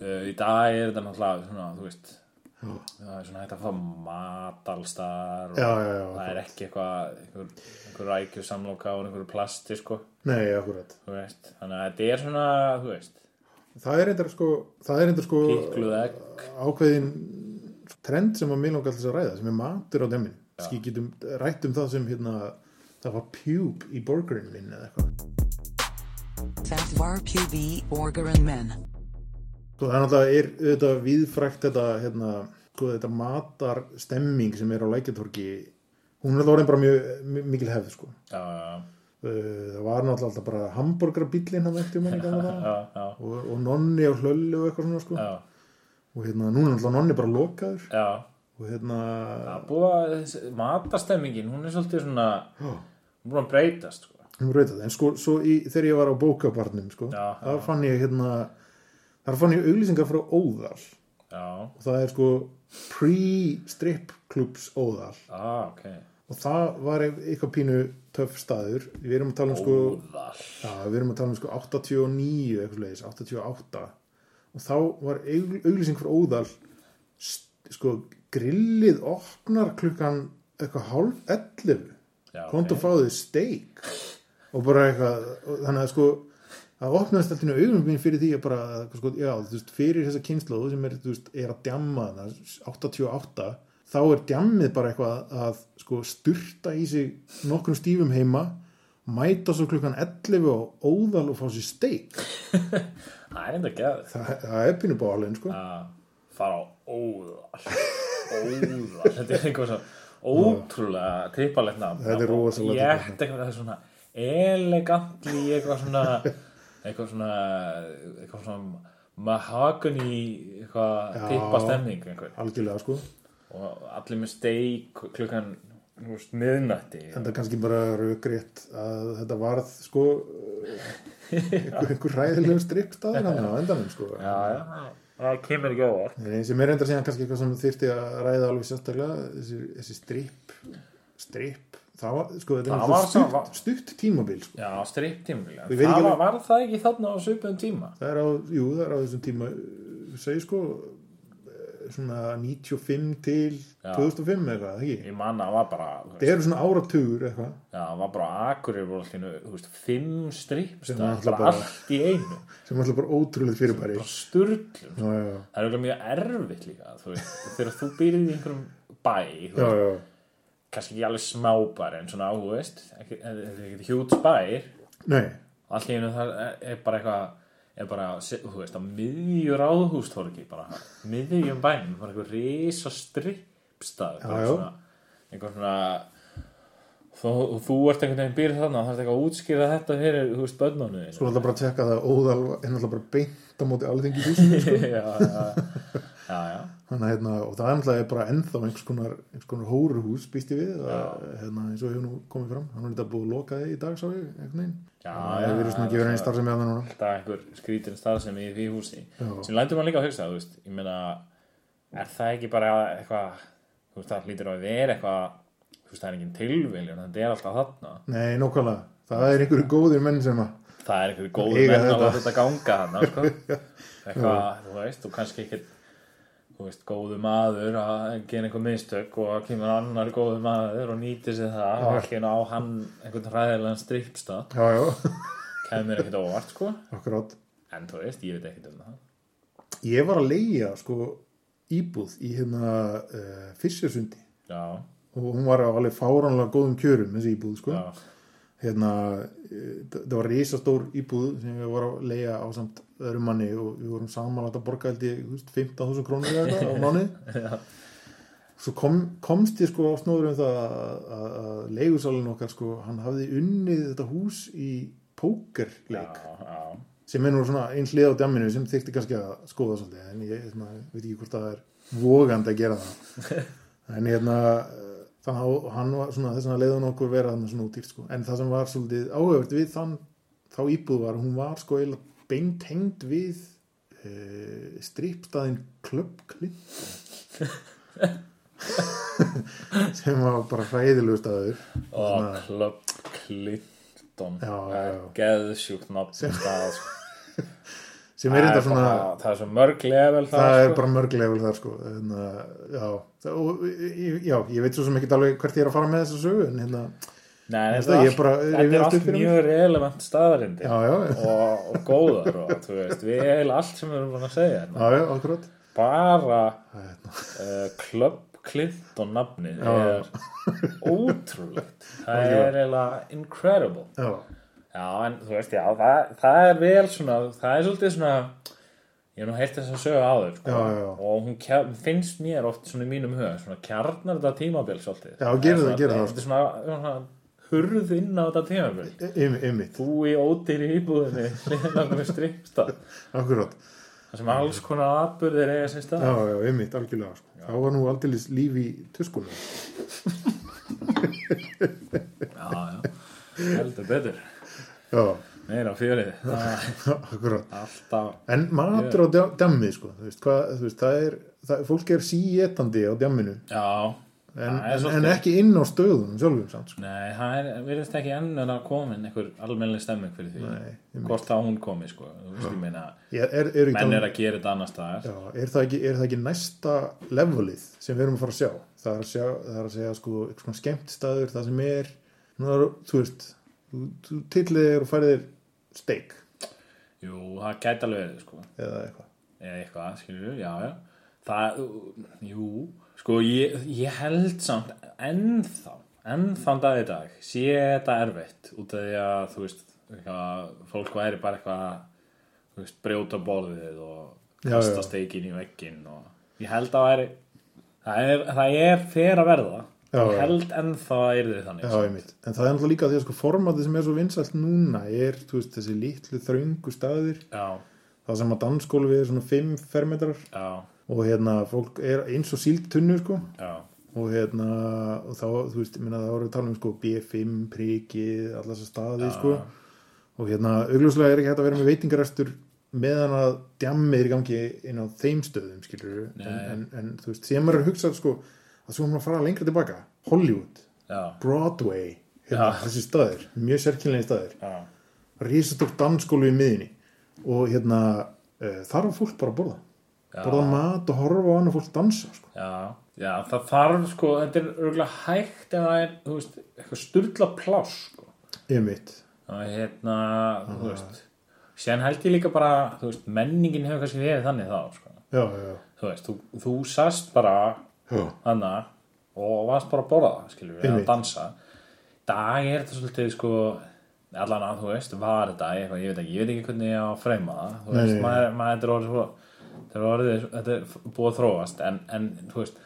Speaker 1: uh, í dag er þetta náttúrulega svona, þú veist það er svona hægt að fá mat allstar og
Speaker 5: Já, já, já,
Speaker 1: það er ekki eitthvað einhver, einhver rækjur samloka og einhver plasti sko,
Speaker 5: nei, akkurat
Speaker 1: þú veist þannig að þetta er svona, þú veist
Speaker 5: það er eindir sko, það er eindir sko
Speaker 1: píkluð egg
Speaker 5: ákveðin trend sem að mér langar alltaf að ræða sem er matur á demmin skil getum rætt um það sem hérna það var pjúb í borgurinn minn eða eitthvað
Speaker 2: Það var QB Orgeron menn.
Speaker 5: Sko það er náttúrulega er auðvitað viðfrækt þetta, hérna, sko þetta matar stemming sem er á lækjartorki, hún er náttúrulega orðin bara mjög mi- mikil hefð, sko.
Speaker 1: já, já,
Speaker 5: Uh, Það var náttúrulega alltaf bara hambúrgrabillin hann eftir um manni gana það
Speaker 1: já, já,
Speaker 5: og, og nonni á hlöllu og eitthvað svona, sko.
Speaker 1: já,
Speaker 5: Og hérna, núna er náttúrulega nonni bara lokaður
Speaker 1: já.
Speaker 5: og hérna,
Speaker 1: Það er búið að þessi- matastemmingin hún er svolítið svona hún er búin að breytast sko.
Speaker 5: hún rauði það. En sko, svo í, þegar ég var á bókabarnum, sko,
Speaker 1: Já,
Speaker 5: þar fann ég hérna, þar fann ég auglýsingar frá Óðal og
Speaker 1: já,
Speaker 5: það er sko pre-strip klubs Óðal.
Speaker 1: ah, ok
Speaker 5: og það var eitthvað pínu töff staður við erum að tala um sko,
Speaker 1: Óðal
Speaker 5: já, við erum að tala um sko 89 eitthvað leiðis, 88 og þá var augl- auglýsing frá óðal st- sko grillið opnar klukkan eitthvað hálf 11
Speaker 1: Já,
Speaker 5: komdu
Speaker 1: ok.
Speaker 5: og fáðu steik og bara eitthvað og þannig að sko það opnaðist alltaf augunum mín fyrir því að bara sko, já, þú veist, fyrir þessa kynnslóð sem er, þú veist, er að djamma það 88, þá er djammið bara eitthvað að sko styrta í sig nokkrum stífum heima mæta svo klukkan 11 og óðal og fá sér steik
Speaker 1: Það er enda geðið
Speaker 5: það, það er pínu bálinn sko
Speaker 1: að fara á óðal óðal, þetta er einhver svo ótrúlega tippalegt nafn
Speaker 5: Þetta er rosalega
Speaker 1: ég
Speaker 5: tippalegt
Speaker 1: eitthvað það er svona elegantli eitthvað svona eitthvað svona eitthvað svona mahagani eitthvað tippa stemning einhver.
Speaker 5: algjörlega sko,
Speaker 1: og allir með steik klukkan þú veist, miðnætti
Speaker 5: en það er kannski bara raugrétt að þetta varð sko einhver, einhver ræðilegum strippstaður hann á endanum sko
Speaker 1: já, já, það kemur ekki óvart
Speaker 5: Nei, sem er enda síðan kannski eitthvað sem þyrfti að ræða alveg sérstaklega, þessi, þessi strip strip, það var sko, þetta
Speaker 1: Það
Speaker 5: er
Speaker 1: var
Speaker 5: var stutt,
Speaker 1: sama-
Speaker 5: stutt tímabil sko.
Speaker 1: já, striptímul
Speaker 5: Ég veit ekki
Speaker 1: það var,
Speaker 5: alveg-
Speaker 1: var það ekki þarna á svipum tíma
Speaker 5: það er á, jú, það er á þessum tíma uh, segi sko eh, svona 95 til 2005 eitthvað, ekki?
Speaker 1: ég manna, það var bara þú veist,
Speaker 5: Það eru svona áratugur eitthvað
Speaker 1: Já, það var bara Akureyri voru alltaf, þú veist, fimm strips
Speaker 5: Sem
Speaker 1: það var
Speaker 5: náttúrulega
Speaker 1: bara
Speaker 5: bara-
Speaker 1: allt í einu
Speaker 5: sem er alltaf bara ótrúlega fyrirbæri
Speaker 1: bara sturglum
Speaker 5: Já, já,
Speaker 1: það er auðvitað mjög erfitt líka þú veist, þegar þú býrið í einhverjum bæ þú
Speaker 5: já,
Speaker 1: veist,
Speaker 5: já,
Speaker 1: kannski ekki alveg smábær en svona, þú veist, ekki- þetta er ekki hjúts bær
Speaker 5: nei,
Speaker 1: allt í einu það er- er bara eitthvað er bara, þú veist, á miðju ráðhústorki bara, miðjum bænum bara eitthvað risa strippstað
Speaker 5: Já, já.
Speaker 1: eitthvað svona þú, þú ert einhvern veginn býrð þarna það er eitthvað að útskýra þetta fyrir, þú veist, bönnunni
Speaker 5: sko alltaf bara að tekka það óðal, en alltaf bara beint á móti alþengi húsinu
Speaker 1: já, já, já, já
Speaker 5: Þannig, að, hérna, og það er náttúrulega bara ennþá einhvers konar, einhvers konar hóruhús býst ég við að, hérna, eins og hefur nú komið fram hann er þetta búið að loka þig í dag sá ég einhvern veginn
Speaker 1: Já,
Speaker 5: það hefur verið svona
Speaker 1: já,
Speaker 5: ekki verið einn starf sem ég að það núna
Speaker 1: alltaf einhver skrítin starfsemi í því húsi
Speaker 5: Já.
Speaker 1: sem lætur maður líka að hugsa, þú veist ég meina, er það ekki bara eitthvað, þú veist, það hlýtur að vera eitthvað þú veist, það er engin tilviljun þetta er alltaf þarna
Speaker 5: Nei, nokkvæmlega, það er einhverju góðir menn sem að
Speaker 1: það er einhverju góð
Speaker 5: Eiga
Speaker 1: menn að
Speaker 5: þetta.
Speaker 1: láta þetta ganga hann sko. eitthvað, þú veist, og kannski ekkert þú veist, góðu maður að gera einhver mistök og að kemur annar góðu maður og nýtir sér það og allir á hann einhvern hræðilegan strippstað
Speaker 5: já, já,
Speaker 1: kemur ekkert óvart, sko
Speaker 5: akkurát
Speaker 1: en þú veist, ég veit ekkert um það
Speaker 5: Ég var að leigja sko íbúð í hérna uh, Fischersundi
Speaker 1: já,
Speaker 5: og hún var á alveg fáránlega góðum kjörum þessi íbúð sko
Speaker 1: já,
Speaker 5: hérna, eh, þa- það var risastór íbúð sem við vorum að leiga á samt öðrum manni og við vorum samanlægt að borga held ég, þú veist, 15.000 krónur eða eitthvað á mánuði svo kom, komst ég sko á snóður um það að- að að leigusalinn okkar sko, hann hafði unnið þetta hús í pókerleik
Speaker 1: já, já
Speaker 5: sem er nú svona einn hlið á damminu sem þykti kannski að skoða svolítið en ég svona, veit ekki hvort það er vogandi að gera það en hérna eh, þannig að hann var svona þess að leiðan okkur vera þannig svona út í sko. en það sem var svolítið áhugavert við þann þá íbúð var að hún var sko eiginlega beintengd við e, strippstaðin Club Clinton sem var bara hræðilegu staður
Speaker 1: og Club Clinton
Speaker 5: Já, já, já.
Speaker 1: geðsjúkt nafn sem það sko.
Speaker 5: sem
Speaker 1: það
Speaker 5: er
Speaker 1: er,
Speaker 5: þetta svona
Speaker 1: bara, það er svo mörg level það,
Speaker 5: það er
Speaker 1: sko.
Speaker 5: bara mörglegur þar sko en, uh, já, það, og, ég- já, ég veit svo sem ekki alveg hvert ég er að fara með þessa sögu en hérna,
Speaker 1: Nei,
Speaker 5: Ég
Speaker 1: þetta, er
Speaker 5: ég
Speaker 1: allt-
Speaker 5: bara
Speaker 1: þetta
Speaker 5: rifja
Speaker 1: er
Speaker 5: allt
Speaker 1: allt
Speaker 5: upp fyrir mig.
Speaker 1: mjög relevant staðarindir
Speaker 5: já, já, já,
Speaker 1: og, og góðar og þú veist, við erum allt sem við erum búin að segja hérna.
Speaker 5: já, akkurat
Speaker 1: bara
Speaker 5: hérna.
Speaker 1: uh, Club Clinton nafnið
Speaker 5: Já.
Speaker 1: er ótrúlegt það er eiginlega incredible
Speaker 5: já,
Speaker 1: já en þú veist já það, það er vel svona það er svolítið svona ég hef nú heilt þess að sögja á þau sko.
Speaker 5: Já, já, já.
Speaker 1: og hún kjar, finnst mér oft svona í mínum huga svona kjarnar þetta tímabil svolítið
Speaker 5: Já, gerir það,
Speaker 1: svona-
Speaker 5: gerir það.
Speaker 1: þetta er svona, svona hurð inn á þetta tímabil
Speaker 5: Ym- ymmit,
Speaker 1: bú í ódýri íbúðinni hliðan með strippstað
Speaker 5: akkurat
Speaker 1: það sem alls konar atbyrðir eiga sem stað
Speaker 5: já, já, ymmit, algjörlega sko. þá var nú aldeilis líf í tuskunum
Speaker 1: já, já, heldur betur
Speaker 5: já,
Speaker 1: meira fjörið Það er
Speaker 5: akkurat
Speaker 1: alltaf
Speaker 5: en matur á dammi sko, þú veist, hvað, þú veist, það er það, fólk er síétandi á damminu
Speaker 1: já,
Speaker 5: en,
Speaker 1: það er
Speaker 5: en,
Speaker 1: svolítið-
Speaker 5: en ekki inn á stöðunum sjálfum samt sko.
Speaker 1: nei, það er, virðist ekki ennur að komin einhver almennileg stemming fyrir því
Speaker 5: Nei, einmitt.
Speaker 1: hvort þá hún komi sko Þú veist, ég meina,
Speaker 5: er, er, er, ekki
Speaker 1: menn
Speaker 5: alveg-
Speaker 1: er að gera þetta annar staðar
Speaker 5: Já, er það, ekki, er það ekki næsta levelið sem við erum að fara að sjá? Það er að, sjá, það er að segja sko eitthvað svona skemmtstaður, það sem er, nú er þú veist, þú, þú tillið er og færið þér steik
Speaker 1: jú, það gæti alveg verið sko
Speaker 5: eða eitthvað.
Speaker 1: eða eitthvað, skilur já, já, það, jú sko, ég, ég held samt ennþá, ennþá um dag í dag sé þetta erfitt út af því að, þú veist, eitthvað, fólk væri bara eitthvað, þú veist, brjóta borðið og
Speaker 5: Já,
Speaker 1: kasta
Speaker 5: já.
Speaker 1: steikin í veggin og ég held að væri það er, það er fyrir að verða
Speaker 5: Já, já.
Speaker 1: ég held ennþá að yrði þannig
Speaker 5: Já,
Speaker 1: sko.
Speaker 5: einmitt. En það er náttúrulega líka því að sko formatið sem er svo vinsælt núna er, þú veist, þessi litlu þröngu staðir,
Speaker 1: já,
Speaker 5: það sem að danskólfið er svona 5 fermetrar
Speaker 1: já,
Speaker 5: og hérna, fólk er eins og síltunnu sko.
Speaker 1: já
Speaker 5: og hérna og þá, þú veist, minna, þá voru við að tala um sko, B5, prikið, allas að staði sko. og hérna, augljóslega er ekki hægt að vera með veitingarestur meðan að djammið er í gangi inn á þeim stöðum skilur en, en, en þú veist, sem maður er að hugsa sko, að svo er maður að fara lengra tilbaka Hollywood,
Speaker 1: já,
Speaker 5: Broadway hérna,
Speaker 1: Já.
Speaker 5: þessi staðir, mjög sérkynlega staðir
Speaker 1: já,
Speaker 5: risastórt danskólu í miðinni og hérna, uh, þar var fólk bara að borða borða mat og horfa á hann og fólk dansa sko.
Speaker 1: Já, já, það þarf sko, þetta er örgulega hægt en það er, þú veist, eitthvað sturla pláss sko.
Speaker 5: einmitt,
Speaker 1: og hérna, þú veist síðan held ég líka bara, þú veist menningin hefur kannski verið þannig þá sko.
Speaker 5: já, já,
Speaker 1: þú veist, þú, þú sast bara
Speaker 5: já.
Speaker 1: hana og varst bara að borða það, skilur við,
Speaker 5: Einmitt.
Speaker 1: að dansa Í dag er þetta svolítið sko allan að þú veist, var þetta eitthvað, ég veit ekki, ég veit ekki hvernig ég á að freyma það þú
Speaker 5: Nei,
Speaker 1: veist,
Speaker 5: nei, nei.
Speaker 1: maður, maður þetta er orðið svo þetta er orðið, þetta er búið að þróast en, en þú veist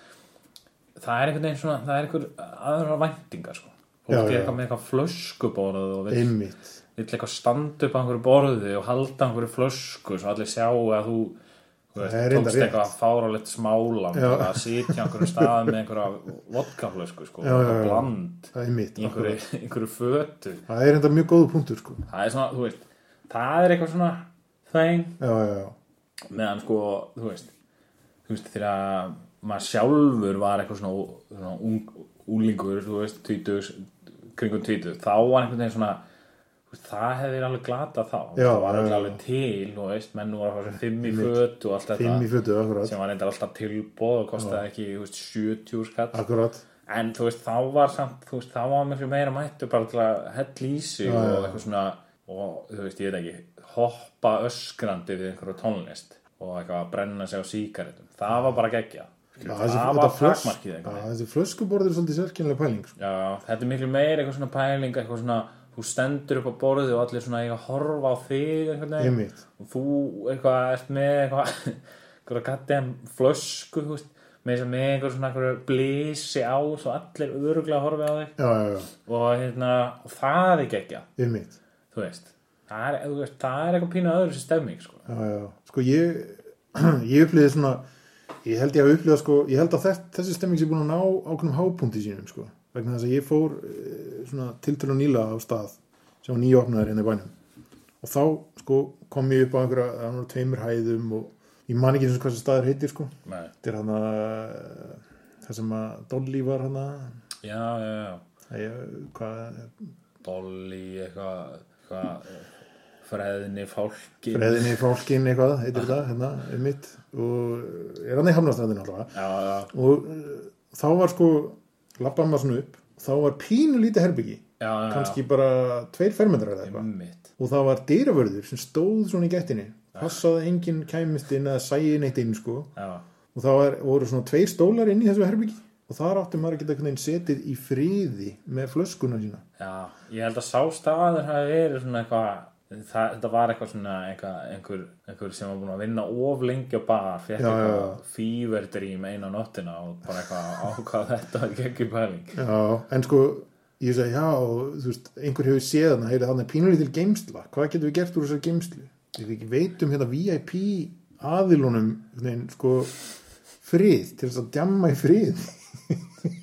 Speaker 1: það er einhvern veginn svona, það er einhver aðra væntingar sko, fólk
Speaker 5: Já,
Speaker 1: er
Speaker 5: já.
Speaker 1: eitthvað með eitthvað flöskubórað og vill,
Speaker 5: einmitt
Speaker 1: vill eitthvað standa upp á einhverju borði og halda einhverju flösku svo allir sjá að þú þú veist,
Speaker 5: Það er reyndar
Speaker 1: tókst
Speaker 5: rétt.
Speaker 1: eitthvað fáralegt smála
Speaker 5: Já.
Speaker 1: að sitja á einhverjum stað með einhverja vodkaflösku sko,
Speaker 5: Já, já, já.
Speaker 1: bland
Speaker 5: Það er mitt,
Speaker 1: í einhverju,
Speaker 5: akkurat.
Speaker 1: einhverju fötu
Speaker 5: Það er enda mjög góðu punktur, sko.
Speaker 1: það er svona, þú veist, það er eitthvað svona þeng
Speaker 5: Já, já, já.
Speaker 1: meðan sko, þú veist þú veist, þegar maður sjálfur var eitthvað svona, svona ung, úlingur, þú veist, tvítus kringum tvítu, þá var einhvern veginn svona þú veist, það hefði verið alveg glata þá
Speaker 5: Já,
Speaker 1: það var
Speaker 5: já,
Speaker 1: alveg,
Speaker 5: já.
Speaker 1: alveg til, þú veist, menn voru að fara sem fimm í föt og allt þetta
Speaker 5: Fimm í fötu, akkurat.
Speaker 1: sem var reyndar alltaf tilbóð og kostaði ekki, þú veist, 70 skatt
Speaker 5: Akkurat.
Speaker 1: en þú veist, þá var samt, þú veist, þá var miklu meira mættu bara til að hella í sig og eitthvað svona, og þú veist, ég veit ekki hoppa öskrandi við einhverju tónlist og eitthvað að brenna sig á síkaretum, það var bara geggja
Speaker 5: Já,
Speaker 1: það
Speaker 5: þetta
Speaker 1: var
Speaker 5: flösk-
Speaker 1: takmarkið einhvern
Speaker 5: Já,
Speaker 1: veginn.
Speaker 5: Þessi flöskuborð er svolítið sérkynlega pæling, sko.
Speaker 1: já, þetta er miklu meira eitthvað svona pæling, eitthvað svona þú stendur upp á borðið og allir svona eiga að horfa á þig einhvern veginn
Speaker 5: Einmitt.
Speaker 1: og þú eitthvað ert með eitthvað eitthvað gattiðan flösku þú veist, með, með einhver svona einhver blísi á svo allir öruglega horfi á þig
Speaker 5: Já, já, já.
Speaker 1: og hérna, og það er ekki ekki
Speaker 5: Einmitt.
Speaker 1: þú veist, það er, þú veist, það er eitthvað pínu öðru sem stemming sko.
Speaker 5: já, já. Sko ég, ég upplýði svona, ég held ég að upplýða sko, ég held að þess, þessi stemming sé búin að ná ákveðnum hápunkti sínum sko. Vegna þess að ég fór eh, svona tiltölu nýla á stað sem var nýjófnaður inn í bænum. Og þá sko kom ég upp á einhverja, það var tveimur hæðum og ég man ekki eins og hvað þessi staður heitir sko.
Speaker 1: Nei.
Speaker 5: Þetta er hann að, það sem að Dolly var hann að,
Speaker 1: já, já, já
Speaker 5: hvað,
Speaker 1: Dolly, eitthvað eitthvað, freðni fálki
Speaker 5: breðinni fólkin eitthvað, heitir þetta, hérna, um mitt. Og er hann í Hamnastrandin alltaf.
Speaker 1: já, já,
Speaker 5: og uh, þá var sko lappaði maður svona upp þá var pínu lítið herbyggi
Speaker 1: já, já,
Speaker 5: kannski bara tveir fermetrar eða eitthvað
Speaker 1: mitt
Speaker 5: og það var dýravörður sem stóð svona í gættinni
Speaker 1: Ah.
Speaker 5: passaði að enginn kæmist inn eða sæi neitt inn sko
Speaker 1: já,
Speaker 5: og það var, voru svona tveir stólar inn í þessu herbyggi og þar átti maður að geta einhvern veginn setið í friði með flöskuna sína
Speaker 1: já, ég held að sá staður hafi verið svona eitthvað Það, þetta var eitthvað svona eitthvað, einhver, einhver sem var búin að vinna of lengi á bar fekk
Speaker 5: Já, já,
Speaker 1: eitthvað fýverdrým eina nóttina og bara eitthvað ákvað þetta var ekki pæling
Speaker 5: Já, en sko ég segi já, og, þú veist, einhver hefur séð hana heyrðu þannig pínulítil geimsla, hvað getum við gert úr þessar geimslu? Við ekki veitum hérna VIP aðilunum nein, sko, frið til þess að djamma í frið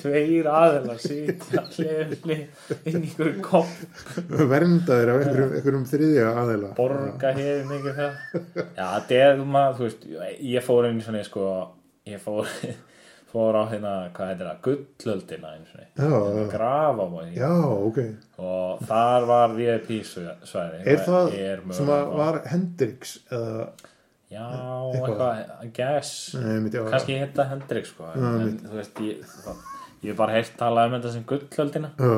Speaker 1: tveir aðelar sitja hlifli inn í einhverju kopp
Speaker 5: verndaðir af einhverjum, einhverjum þriðja aðila
Speaker 1: borga hefur mikið það já, þetta er þú maður, þú veist ég fór einu svona, sko ég fór, fór á hérna, hvað heitir það gullöldina einu svona
Speaker 5: Já, já,
Speaker 1: grafa á því
Speaker 5: já, ok
Speaker 1: og þar var VIP svæði
Speaker 5: Er það
Speaker 1: er mögulega-
Speaker 5: sem að var Hendrix eða,
Speaker 1: já,
Speaker 5: eitthvað?
Speaker 1: eitthvað, I guess
Speaker 5: nei, mitt, já,
Speaker 1: kannski hitta Hendrik sko en, en þú veist, ég, það, ég hef bara heyrt talað um þetta sem gullöldina
Speaker 5: já,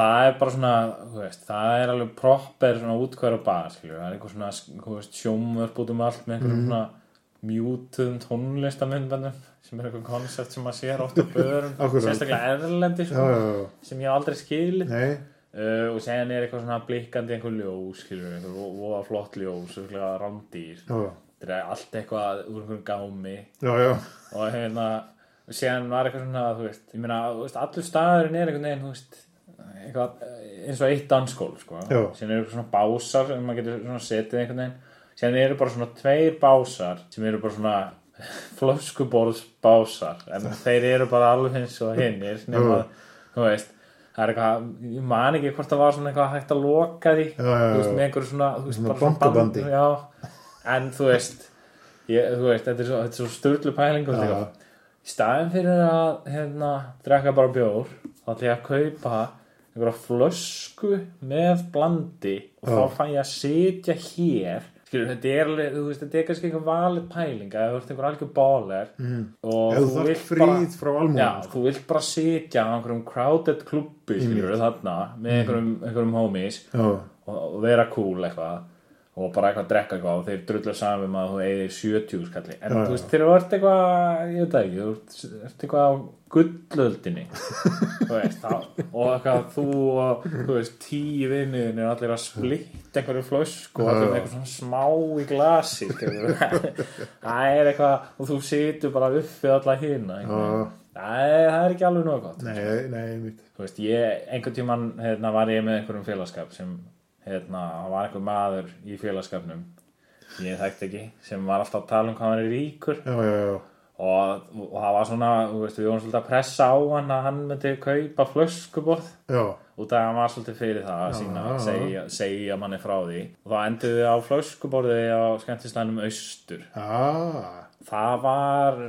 Speaker 1: það er bara svona, þú veist, það er alveg proper svona útkværa bar, skilju það er eitthvað svona, þú veist, sjómvörp út um allt með
Speaker 5: Mhm.
Speaker 1: einhverjum svona mjútuðum tónlistamindbandum sem er eitthvað koncept sem maður sér oft á börum
Speaker 5: Akkurat.
Speaker 1: sérstaklega erlendi
Speaker 5: já,
Speaker 1: sko,
Speaker 5: já, já,
Speaker 1: sem ég hef aldrei skilið
Speaker 5: nei
Speaker 1: uh, og segja er eitthvað svona blikkandi einhver ljós, skilju, einhver vo- voða flott ljós, svona rándýr
Speaker 5: já,
Speaker 1: þetta er allt eitthvað úr einhverjum gámi
Speaker 5: já, já,
Speaker 1: og hérna og síðan var eitthvað svona, þú veist ég meina, þú veist, allur staðurinn er einhvern veginn, þú veist eitthvað, eh, eins og eitt danskól sko,
Speaker 5: Já.
Speaker 1: síðan eru svona básar sem maður getur svona setið einhvern veginn síðan eru bara svona tveir básar sem eru bara svona flöskuborðs básar, en þeir eru bara alveg eins og hinnir nema, þú veist Það er eitthvað, ég man ekki hvort það var svona eitthvað hægt að loka því
Speaker 5: já, já.
Speaker 1: Þú veist, með einhverju svona, þú veist,
Speaker 5: Uh, Svona
Speaker 1: bara svona band-
Speaker 5: bankabandi.
Speaker 1: Já, en þú veist ég, þú veist, þetta er svo, þetta er svo sturlu pæling og
Speaker 5: Já.
Speaker 1: þetta í staðin fyrir að hérna, drekka bara bjór þá ætla ég að kaupa einhverja flösku með blandi og þá fæ ég að sitja hér skilur, þetta er, alveg, þú veist, þetta er kannski einhver valið pæling að þú ert einhver algjör bóler mm. og
Speaker 5: Mhm. Ef þú þarft
Speaker 1: vilt
Speaker 5: frið
Speaker 1: bara-
Speaker 5: frá almúganum,
Speaker 1: já,
Speaker 5: sko.
Speaker 1: þú vilt bara sitja á einhverjum crowded klubbi, skilur, þarna með einhverjum,
Speaker 5: Mhm.
Speaker 1: einhverjum homies
Speaker 5: já,
Speaker 1: og, og vera cool eitthvað og bara eitthvað drekka eitthvað og þeir drullu saman um að þú eigir 70 skalli en
Speaker 5: Já, já.
Speaker 1: þú veist þegar þú ert eitthvað ég veit það ekki, þú ert- ert eitthvað á gullöldinni þú veist, þá, og eitthvað þú og þú veist, tíu vinniðin er allir að splitt einhverju flösku og allir með eitthvað svona smá í glasi skilurðu. það er eitthvað og þú situr bara uppi alla hina
Speaker 5: Já.
Speaker 1: það er, það er ekki alveg nóg gott
Speaker 5: nei, nei, mitt
Speaker 1: þú veist, ég, einhvern tímann hérna, var ég með einhverjum félagskap sem hérna, það var einhver maður í félagskapnum ég þekkt ekki sem var alltaf að tala um hvað hann er ríkur
Speaker 5: já, já, já,
Speaker 1: og, og það var svona, þú veist, við vorum svolítið að pressa á hann að hann myndi kaupa flöskuborð
Speaker 5: já,
Speaker 1: út af að hann var svolítið fyrir það að sína,
Speaker 5: já, já.
Speaker 1: segja, segja manni frá því og það endur við á flöskuborði á skemmtistænum austur
Speaker 5: ah
Speaker 1: það var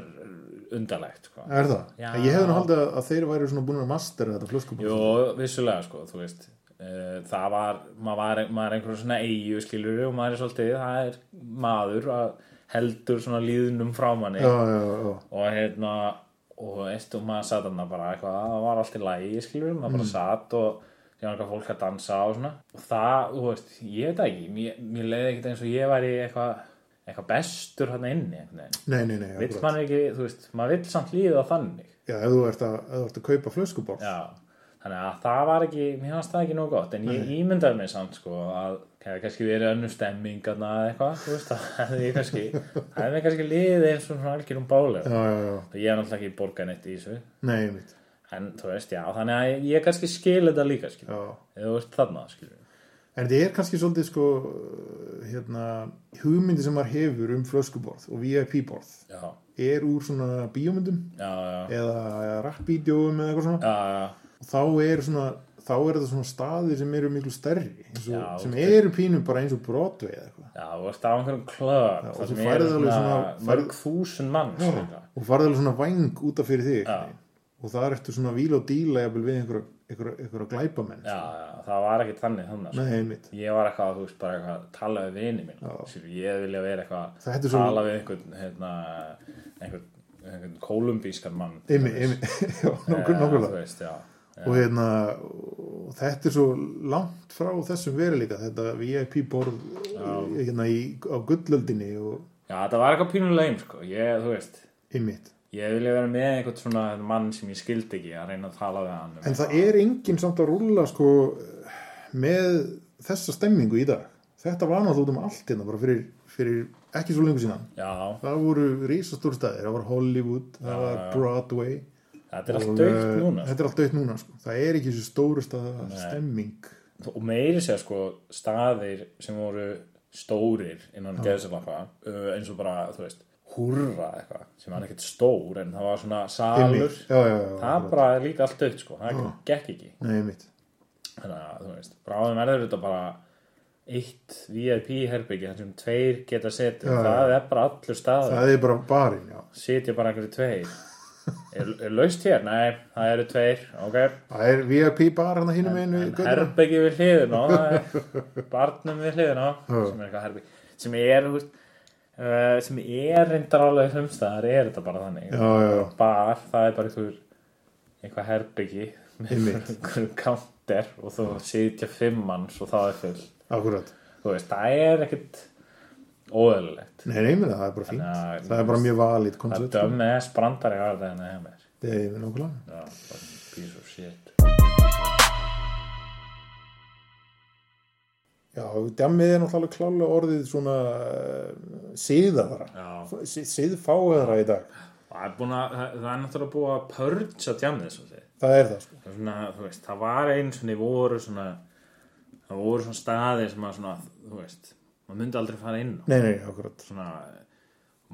Speaker 1: undarlegt sko.
Speaker 5: Er það?
Speaker 1: Já.
Speaker 5: Ég hefði nú haldið að- að þeir væri svona búin að mastera þetta flöskum
Speaker 1: Jú, vissulega sko, þú veist eh, það var, maður var maður er einhverjum svona eigu skilur og maður er svolítið, það er maður að heldur svona líðnum frá manni
Speaker 5: Já, já, já,
Speaker 1: og hérna og þú veist, og maður satt hann bara eitthvað, það var allt í lægi skilur, maður
Speaker 5: Mm.
Speaker 1: bara satt og ég var eitthvað fólk að dansa og svona og það, þú veist, ég veit það ekki mér, mér leiði ekkert eins og ég væri eitthvað eitthvað bestur hann inni einhvern veginn.
Speaker 5: nei, nei, nei
Speaker 1: vill
Speaker 5: akkurat.
Speaker 1: maður ekki, þú veist, maður vill samt líða þannig
Speaker 5: Já, ef þú ert að, ef þú ert að kaupa flöskuborð
Speaker 1: Já, þannig að það var ekki, mér fannst það ekki nóg gott, en ég ímyndaði mér samt sko að það hefði kannski verið önnur stemming þarna eða eitthvað, þú veist, það hefði ég kannski, það hefði mér kannski liðið eins og svona algjörum bálega.
Speaker 5: já, já, já.
Speaker 1: Ég er náttúrulega ekki borgað neitt í þessu,
Speaker 5: nei, mitt
Speaker 1: en þú veist, já, þannig að ég kannski skil þetta líka, skil,
Speaker 5: Já,
Speaker 1: ef þú ert þarna, skil.
Speaker 5: en þetta er kannski svolítið sko hérna, hugmyndi sem maður hefur um flöskuborð og VIP-borð
Speaker 1: já,
Speaker 5: er úr svona bíómyndum
Speaker 1: já, já,
Speaker 5: eða rappvídeóum eða eitthvað svona
Speaker 1: já, já.
Speaker 5: og þá er svona þá er þetta svona staðir sem eru miklu stærri eins og,
Speaker 1: Já,
Speaker 5: sem
Speaker 1: ok.
Speaker 5: eru pínum bara eins og brotvei eða eitthvað
Speaker 1: Já, þú ert á einhverjum klöf
Speaker 5: Já, og
Speaker 1: það
Speaker 5: þú
Speaker 1: sem
Speaker 5: færð
Speaker 1: eru
Speaker 5: alveg
Speaker 1: svona
Speaker 5: svona- færð-
Speaker 1: mörg þúsund manns líka.
Speaker 5: og farði alveg svona væng út af fyrir þig
Speaker 1: Já.
Speaker 5: og það er eftir svona víl og díla jafnvel við einhverja, einhverja, einhverja glæpamenn
Speaker 1: Já, já, það var ekki þannig sko. þannig
Speaker 5: Nei, einmitt.
Speaker 1: Ég var eitthvað, þú veist, bara eitthvað að tala við vini mín
Speaker 5: Já.
Speaker 1: Ég vilja vera eitthvað
Speaker 5: Það hættu
Speaker 1: að
Speaker 5: svo-
Speaker 1: tala við einhvern, hérna, einhvern, einhvern kolumbískan mann til
Speaker 5: einmitt,
Speaker 1: dæmis.
Speaker 5: einmitt, já, nokkur,
Speaker 1: Eh,
Speaker 5: nokkur
Speaker 1: Þú
Speaker 5: það
Speaker 1: veist, já
Speaker 5: og hérna og þetta er svo langt frá þessum veruleika þetta VIP borð hérna í, á gullöldinni og
Speaker 1: Já, þetta var eitthvað pínulegum, sko Ég, þú veist,
Speaker 5: ymmit
Speaker 1: ég vilja vera með einhvern svona mann sem ég skildi ekki að reyna að tala við hann um
Speaker 5: en það er enginn samt að rúlla sko með þessa stemmingu í dag þetta var náttúrulega út um allt hérna bara fyrir, fyrir ekki svo lengur síðan
Speaker 1: Já,
Speaker 5: það voru risastór staðir, það var Hollywood það var Broadway
Speaker 1: þetta er
Speaker 5: og,
Speaker 1: allt dögt
Speaker 5: eh,
Speaker 1: núna sko.
Speaker 5: þetta er allt dögt núna sko. það er ekki þessi stóru staða stemming
Speaker 1: og meiri sér sko staðir sem voru stórir innan ja. geðsilappa eins og bara, þú veist, hurra eitthvað sem var ekkert stór en það var svona salur,
Speaker 5: Einmitt. Já, já, já,
Speaker 1: það bara er líka allt dögt sko, það gekk ekki
Speaker 5: nei mitt
Speaker 1: þannig að þú veist, bráðum er þetta bara eitt VIP herbyggi þar sem tveir geta setið það er bara allur staður,
Speaker 5: það er bara barinn, já
Speaker 1: sitja bara einhverju tveir er, er laust hér? Nei, það eru tveir ok,
Speaker 5: það er VIP bar hérna hínum einu
Speaker 1: herbyggi við hliðin á það er barnum við hliðin á sem er eitthvað herbyggi sem er, þú veist, uh, sem er reyndar alveg sumstaðar er þetta bara þannig
Speaker 5: já, já, já,
Speaker 1: bar, það er bara einhver eitthvað herbyggi með
Speaker 5: Einmitt.
Speaker 1: einhverjum counter og þú sitja fimm manns og það er full
Speaker 5: akkurat
Speaker 1: þú veist, það er ekkert óöðulegt
Speaker 5: Nei, nei, meni, það er bara fínt.
Speaker 1: Þannig að-
Speaker 5: það er bara mjög valið
Speaker 1: það
Speaker 5: koncept.
Speaker 1: dömmi eða sprandar ég aðra en að hjá mér
Speaker 5: Það er nákvæmlega.
Speaker 1: Já, fucking piece of shit
Speaker 5: Já, djammið er náttúrulega alveg klálega orðið svona uh, síðaðara.
Speaker 1: Já.
Speaker 5: Síðfáðara í dag.
Speaker 1: það er, búin að, það, það er náttúrulega búið að pörgsa djamnið svo þið
Speaker 5: Það er það, sko.
Speaker 1: það, er svona, þú veist, það var einu svona voru svona það voru svona staðir sem að svona, þú veist maður myndi aldrei fara inn á
Speaker 5: Nei, nei, akkurat.
Speaker 1: svona,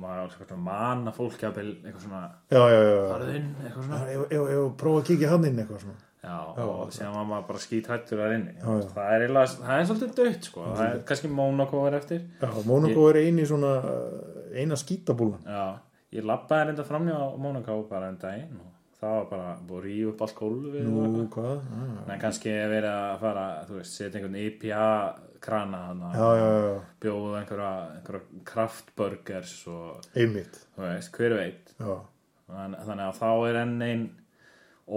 Speaker 1: maður er svona manna fólk jafnvel, eitthvað svona
Speaker 5: Já, já, já. já.
Speaker 1: farið inn, eitthvað svona
Speaker 5: Ef- Ef ef að prófa að kíkja hann inn eitthvað svona.
Speaker 1: já, og síðan var maður bara skítrættur þar inni
Speaker 5: Já, já.
Speaker 1: það er, eiginlega, það er svolítið dött sko. það er kannski Monaco er eftir
Speaker 5: Já, Monaco er eini svona, uh, eina skítabúlan.
Speaker 1: já, ég labbaði reynda framjá Monaco bara en daginn og það var bara búið að rífa upp allt gólfið og eitthvað.
Speaker 5: Nú, hvað? Ah,
Speaker 1: Nei, kannski er verið að fara, þú veist, setja einhvern IPA krana hana,
Speaker 5: Já, já, já, já.
Speaker 1: bjóða einhverja, einhverja kraftburgers og,
Speaker 5: Einmitt.
Speaker 1: þú veist, hver veit.
Speaker 5: Já,
Speaker 1: Þann, þannig að þá er enn einn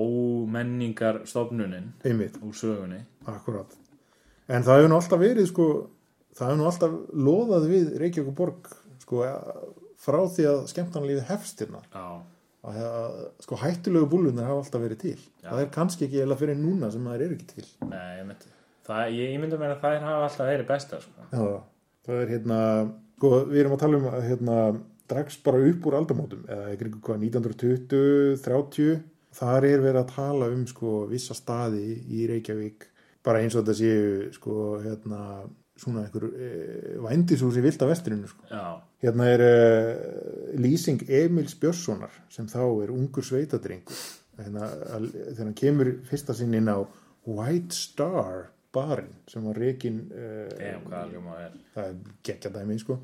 Speaker 1: ómenningar stofnunin
Speaker 5: einmitt.
Speaker 1: úr sögunni.
Speaker 5: Akkurat. En það hefur nú alltaf verið sko, það hefur nú alltaf loðað við Reykjavík og Borg sko, að- frá því að skemmtanlífið hefst hérna.
Speaker 1: Já,
Speaker 5: Að, að, sko, hættulegu búlunar hafa alltaf verið til. Það er kannski ekki eða fyrir núna sem það er ekki til.
Speaker 1: nei, ég myndi, það, ég, ég myndi meina að þær hafa alltaf verið besta, sko.
Speaker 5: Já, það er hérna, sko, við erum að tala um að hérna, dragst bara upp úr aldamótum, eða ykkur hvað, 1920, 30, þar er verið að tala um, sko, vissa staði í Reykjavík, bara eins og þetta séu, sko, hérna, svona einhver e, vændisús í vilda vestrinu, sko.
Speaker 1: Já,
Speaker 5: Hérna er uh, lýsing Emils Björnssonar sem þá er ungur sveitadrengur hérna, að- þegar hann kemur fyrsta sinn inn á White Star barinn sem var reikin uh,
Speaker 1: ég hef hvað alveg maður er.
Speaker 5: það er geggja dæmi sko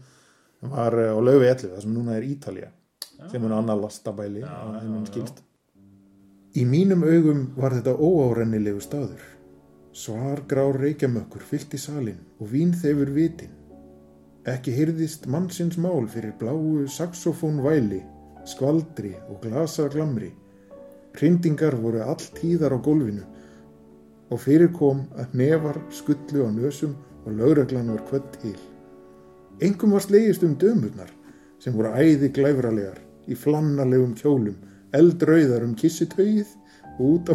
Speaker 5: hann var eh, á laufi 11 það sem núna er Ítalía sem er annar lastabæli að þeim hann skilst í mínum augum var þetta óárennilegu staður svargrár reykjamökkur fyllt í salin og vín þeifur vitin ekki hyrðist mannsins mál fyrir bláu saxofón væli skvaldri og glasa glamri hrindingar voru alltíðar á gólfinu og fyrir kom að nefar skullu á nösum og lögreglan var hvött til. Engum var slegist um dömurnar sem voru æði glæfralegar í flannalegum kjólum, eldrauðar um kissitauið og út á...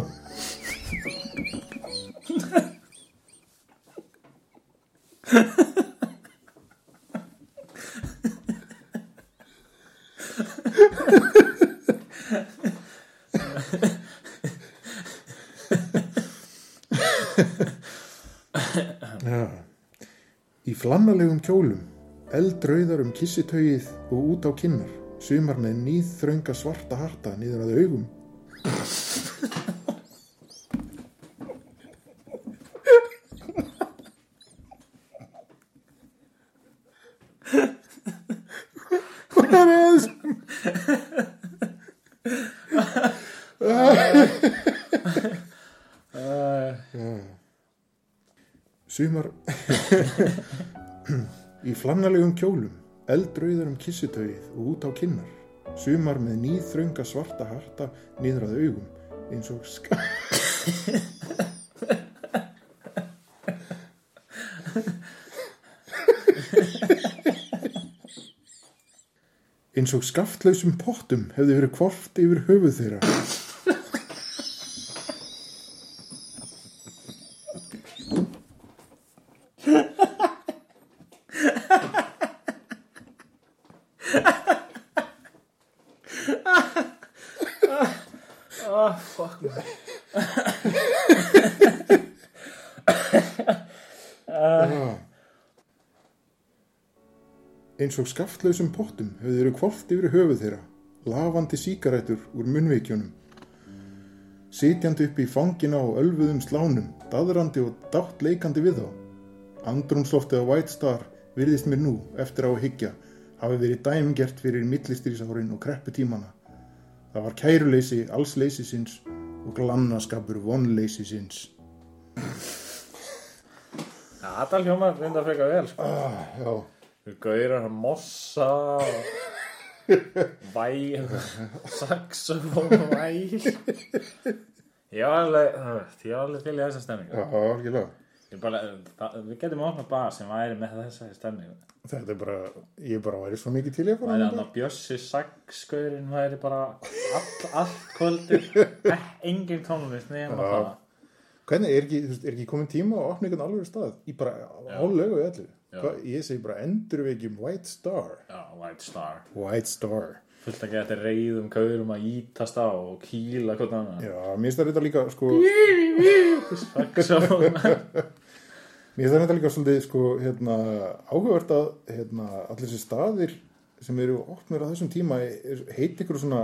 Speaker 5: Já, Í flannalegum kjólum, eldrauðar um kissitaugið og út á kinnar, sumar með nýþrönga svarta harta niður að augum. Hvað er þessum? Sumar í flannalegum kjólum, eldrauðar um kissitaugið og út á kinnar, sumar með nýþrönga svarta harta niður að augum eins og ska... eins og skaftlausum pottum hefði verið kvort yfir höfuð þeirra. Eins og skaftlausum pottum hefur þeirra kvort yfir höfuð þeirra, lafandi síkarætur úr munnveikjunum. Sitjandi upp í fangina á ölfuðum slánum, daðrandi og dátt leikandi við þá. Andrumsloftið á White Star virðist mér nú, eftir á að hyggja, hafi verið dæmgert fyrir millistrísárin og krepputímana. Það var kæruleysi allsleysi sinns og glannaskapur vonleysi sinns.
Speaker 1: Já, þetta hljómar reynda freka vel sko.
Speaker 5: Já,
Speaker 1: Þú gaurar að mossa og væl saxofón og væl Ég var alveg ég var alveg til í þessa stemmingu
Speaker 5: já, algjörlega.
Speaker 1: Ég bara, það, við getum opnað bar sem væri með þessa stemmingu
Speaker 5: Þetta er bara, ég bara væri svo mikið til ég bara.
Speaker 1: væri hann að Bjössi saxgaurin væri bara all, allt kvöldi engin tónlist nema
Speaker 5: Já.
Speaker 1: það
Speaker 5: Hvernig er ekki, þú veist, er ekki komin tíma að opna einhvern alveg stað? Í bara álögu og öllu.
Speaker 1: Já.
Speaker 5: Hva, ég segi bara endurvegjum White Star.
Speaker 1: Já, White Star
Speaker 5: White Star.
Speaker 1: fullt að geta reyðum gaurum að ítast á og kýla hvort annað
Speaker 5: Já, mér finnst það þetta líka, sko,
Speaker 1: saxofón
Speaker 5: mér finnst það þetta líka svolítið, sko, hérna, áhugavert að, hérna, allir þessi staðir sem eru opnir á þessum tíma er, heit ykkur svona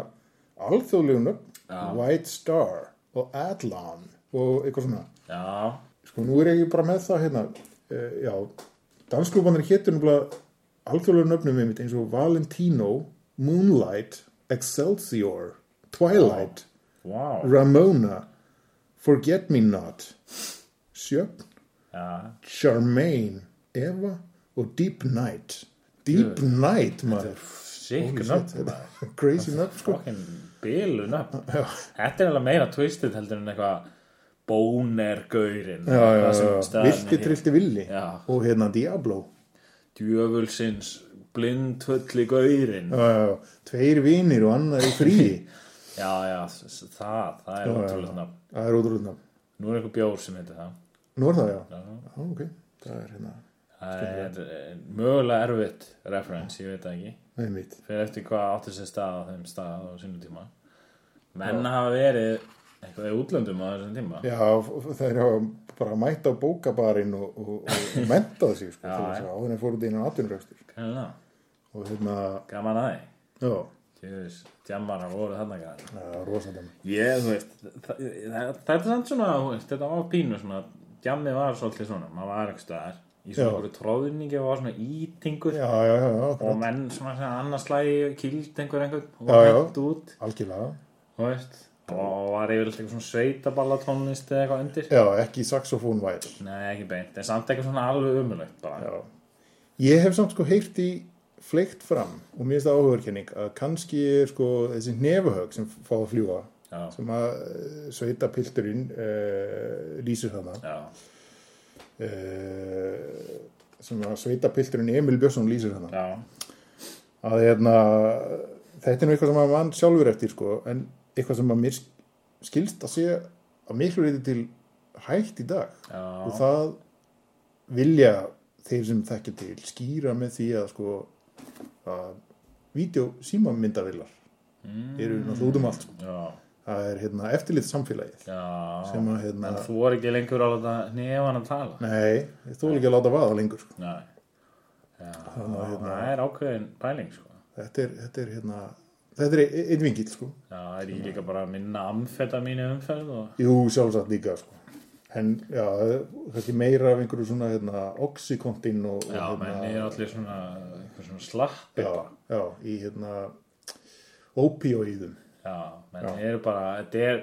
Speaker 5: alþjóðlegu nöfn, White Star og Adlon og eitthvað svona.
Speaker 1: Já,
Speaker 5: Sko, nú er ég bara með það hérna, e, já, dansklúbanir hétur nefnilega alþjóðlega nöfnum einmitt eins og Valentino, Moonlight, Excelsior, Twilight,
Speaker 1: wow
Speaker 5: Ramona, Forget Me Not, Sjöfn,
Speaker 1: Já,
Speaker 5: Charmaine, Eva og Deep Night. Deep Night, maður.
Speaker 1: sick
Speaker 5: Holy shit,
Speaker 1: nöfn maður.
Speaker 5: þetta- Crazy nöfn, sko.
Speaker 1: Fokkin bílu nöfn Þetta er alveg meira twisted heldur en eitthvað Bónergaurin
Speaker 5: Já, já, já. Vilti trillti villi
Speaker 1: Já.
Speaker 5: og hérna Diablo.
Speaker 1: Djöfulsins blindhulli gaurin
Speaker 5: Já, já, já. Tveir vinir og annar í fríi.
Speaker 1: Já, já, s- s- það, það er
Speaker 5: Já, já,
Speaker 1: ótrúlega
Speaker 5: já.
Speaker 1: nöfn
Speaker 5: Það er ótrúlega nafn.
Speaker 1: Nú er eitthvað bjór sem heitir það
Speaker 5: Nú er það, já. Já, ok. Það er hérna,
Speaker 1: Það er eh, mögulega erfitt reference, ég veit það ekki
Speaker 5: það er mitt.
Speaker 1: fyrir eftir hvað áttu sér stað á þeim stað á sínum tíma menn hafa verið eitthvað í útlöndum á þessum tíma
Speaker 5: Já, það er bara að mæta á bókabarinn og, og, og, og mentaði sig, sko, til þess að áður en fór út í innan atvinnurekstur.
Speaker 1: Kannan,
Speaker 5: Og hérna,
Speaker 1: gaman að því
Speaker 5: já,
Speaker 1: Tjóðis, djammarar voru þarna gæðan
Speaker 5: það er rosadæmi.
Speaker 1: Ég, þú veist, það, það, það er samt svona, þú veist, þetta var pínu svona Djammi var svolítið svona, maður var ekki stöðar Í svona
Speaker 5: Já.
Speaker 1: okkur tróðningi og var svona ítingur
Speaker 5: Já, já, já, já, akkurat.
Speaker 1: Og menn svona sem annarslægi kýld einhver einhvern Og
Speaker 5: Já,
Speaker 1: var
Speaker 5: já.
Speaker 1: hægt út,
Speaker 5: algjörlega.
Speaker 1: þú veist Og var yfirleitt eitthvað svona sveitaballatónlist eða eitthvað undir
Speaker 5: Já, ekki saxofónvæl.
Speaker 1: Nei, ekki beint, en samt eitthvað svona alveg umulegt bara
Speaker 5: Já. Ég hef samt sko heyrt í fleikt fram og mér finnst það áhugurkenning að kannski er sko þessi nefahög sem fá að fljúa
Speaker 1: Já.
Speaker 5: sem að eh, sveitapilturinn uh, lýsir þarna
Speaker 1: Já,
Speaker 5: uh, sem að sveitapilturinn Emil Björnsson lýsir hana
Speaker 1: já,
Speaker 5: að hérna, þetta er nú eitthvað sem að mann sjálfur eftir sko, en eitthvað sem að mér skilst að sé að miklu reyti til hægt í dag
Speaker 1: Já.
Speaker 5: og það vilja þeir sem þekkja til skýra með því að sko að vídeo símamyndavillar
Speaker 1: Mm.
Speaker 5: eru náttúrulega út um allt sko.
Speaker 1: já,
Speaker 5: það er hérna eftirlit samfélagið
Speaker 1: já
Speaker 5: sem að hérna,
Speaker 1: En þú voru ekki lengur að láta nefana tala
Speaker 5: nei, þú er ekki að láta vaða lengur sko.
Speaker 1: Nei
Speaker 5: Þannig að, hérna,
Speaker 1: það er ákveðin pæling sko.
Speaker 5: þetta er, þetta er hérna þetta er e- einn vingill sko
Speaker 1: Já, það er ég líka bara að minna amfeta mínu umferð og
Speaker 5: jú sjálfsagt líka sko en já, kannski meira af einhverju svona hérna oxykontin og, og
Speaker 1: já, menn er allir svona, einhver svona slapp
Speaker 5: já, já, í hérna opioíðum
Speaker 1: já, menn eru bara þetta er,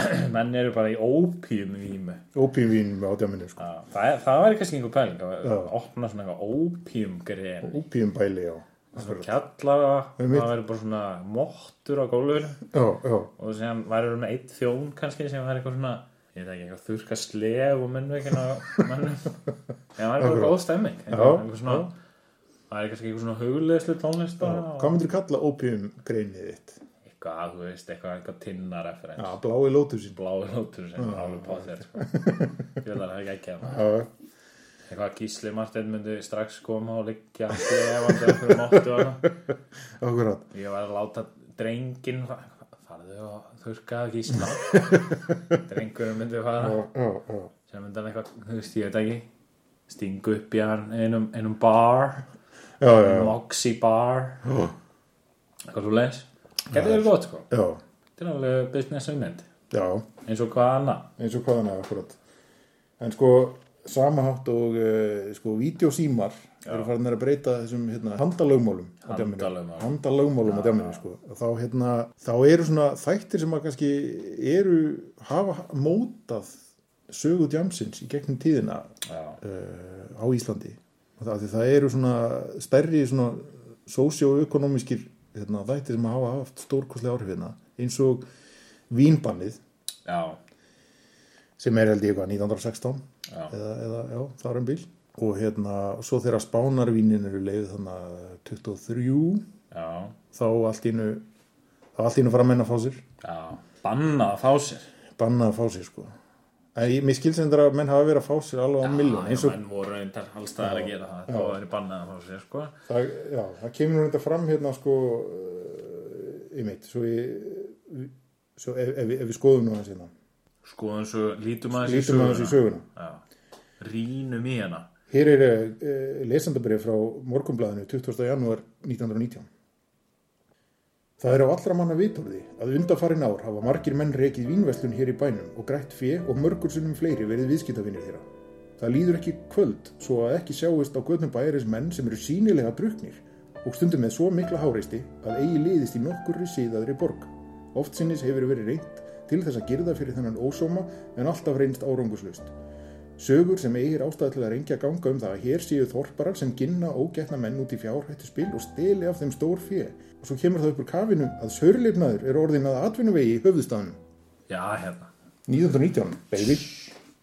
Speaker 1: menn eru bara í ópíum vímu
Speaker 5: opioínum átjáminni sko
Speaker 1: Já, það, er- það væri kannski einhver pæling að opna svona eitthvað ópíum grein
Speaker 5: opioínbæli, já
Speaker 1: kjallara, það
Speaker 5: Einmitt.
Speaker 1: væri bara svona mottur á gólfinu
Speaker 5: já, já,
Speaker 1: og sem væri með eitt þjón kannski sem væri eitthvað svona ég veit ekki, eitthvað þurrka slef og munnveikin á mannum en það væri bara góð stemming eitthvað,
Speaker 5: Já,
Speaker 1: eitthvað svona, það væri kannski eitthvað svona hugleðslu tónlist bara og
Speaker 5: hvað myndir kalla opioíngreinið þitt
Speaker 1: eitthvað, þú veist, eitthvað, eitthvað tinnareferens
Speaker 5: já, blái lótusinn
Speaker 1: blái nótur sem er alveg på þér sko. ég vil að það hefði ekki ekki
Speaker 5: já,
Speaker 1: eitthvað Gísli Martin myndi strax koma og liggja slefandi okkur móttu og eitthvað.
Speaker 5: akkurat
Speaker 1: ég var að láta drengin farðu og þurrkaðu Gísla drengurinn myndi fara
Speaker 5: já, já, já,
Speaker 1: sem myndi hann eitthvað, þú veist, ég veit ekki stingu upp í hann einum, einum bar
Speaker 5: já, já, já.
Speaker 1: moxie bar eitthvað svo leis getur verið gott sko,
Speaker 5: já,
Speaker 1: þetta er alveg business ummynd
Speaker 5: já.
Speaker 1: eins og hvað annað
Speaker 5: eins og hvaðan er akkurat en sko samahátt og uh, sko videosímar eru farin að breyta þessum hérna, handalögmálum á djamminu.
Speaker 1: Handalögmálum.
Speaker 5: handalögmálum á djáminu sko. Og þá, hérna, þá eru svona þættir sem að kannski eru hafa mótað sögu djámsins í gegnum tíðina
Speaker 1: Já.
Speaker 5: uh, á Íslandi Og það, af því það eru svona stærri svona sósíoökonomískir hérna, þættir sem hafa haft stórkoslega áhrifina eins og vínbannið
Speaker 1: já,
Speaker 5: sem er held ég eitthvað 1916
Speaker 1: Já.
Speaker 5: eða, eða já, það er um bíl og hérna, svo þegar spánarvínin eru leið þannig að 23
Speaker 1: já,
Speaker 5: þá allt í einu þá allt í einu fara að menna að fá sér
Speaker 1: já bannað að fá sér
Speaker 5: banna að fá sér sko en ég, mér skilsendur að menn hafa verið að fá sér alveg á miljón eins og
Speaker 1: menn voru reyndar allstaðar að gera það þá er bannað að fá sér sko
Speaker 5: það, já, það kemur nú þetta fram hérna sko í mitt svo, ég, svo ef, ef, ef við skoðum nú hans hérna
Speaker 1: sko eins og lítum aðeins í
Speaker 5: lítum aðeins í söguna
Speaker 1: Já. rínum í hana
Speaker 5: Hér er uh, lesendabrið frá morgumblæðinu 20. janúar 1919. Það er á allra manna vitorði að undanfarin ár hafa margir menn rekið vínveslun hér í bænum og grætt fé og mörgur sunnum fleiri verið viðskiptavinir þeirra. Það líður ekki kvöld svo að ekki sjáist á göðnum bæjarins menn sem eru sínilega druknir og stundum með svo mikla háreisti að eigi liðist í nokkurri síðaðri borg. Oft sinnis hefur verið reynt til þess að girða fyrir þennan ósóma en alltaf reynst áranguslaust. Sögur sem eigir ástæði til að reyngja ganga um það að hér séu þorparar sem ginna ógætna menn út í fjárhættu spil og steli af þeim stór fjö. Og svo kemur það upp úr kafinu að sörleifnaður er orðin að atvinnuvegi í höfðustafnum.
Speaker 1: já hérna
Speaker 5: 1919, baby.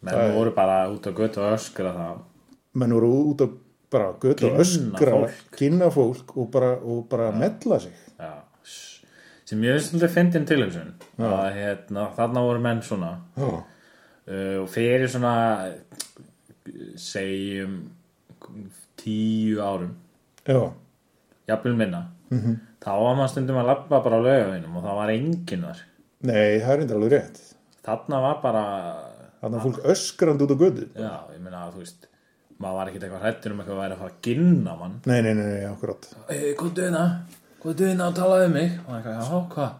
Speaker 1: menn voru bara út á götu og öskra það
Speaker 5: Menn voru út að bara götu
Speaker 1: Ginna
Speaker 5: og öskra,
Speaker 1: fólk.
Speaker 5: kynna fólk og bara, og bara mella sig.
Speaker 1: já. sem ég veist alltaf fyndin tilhugsun að hérna, þarna voru menn svona
Speaker 5: Já,
Speaker 1: uh, og fyrir svona segjum tíu árum
Speaker 5: já,
Speaker 1: jafnvel minna
Speaker 5: Mhm.
Speaker 1: -hmm. þá var maður stundum að labba bara á laugavinum og það var enginn þar
Speaker 5: nei, það er reyndar alveg rétt.
Speaker 1: þarna var bara
Speaker 5: Þannig að fólk öskrandi út á götu.
Speaker 1: já, ég meina að þú veist maður var ekkert eitthvað hrættur um eitthvað að vera að fara að ginna mann
Speaker 5: Nei, nei, nei, nei, akkurat.
Speaker 1: hey, komdu hérna, komdu hérna og talaðu um mig og það er eitthvað, já, hvað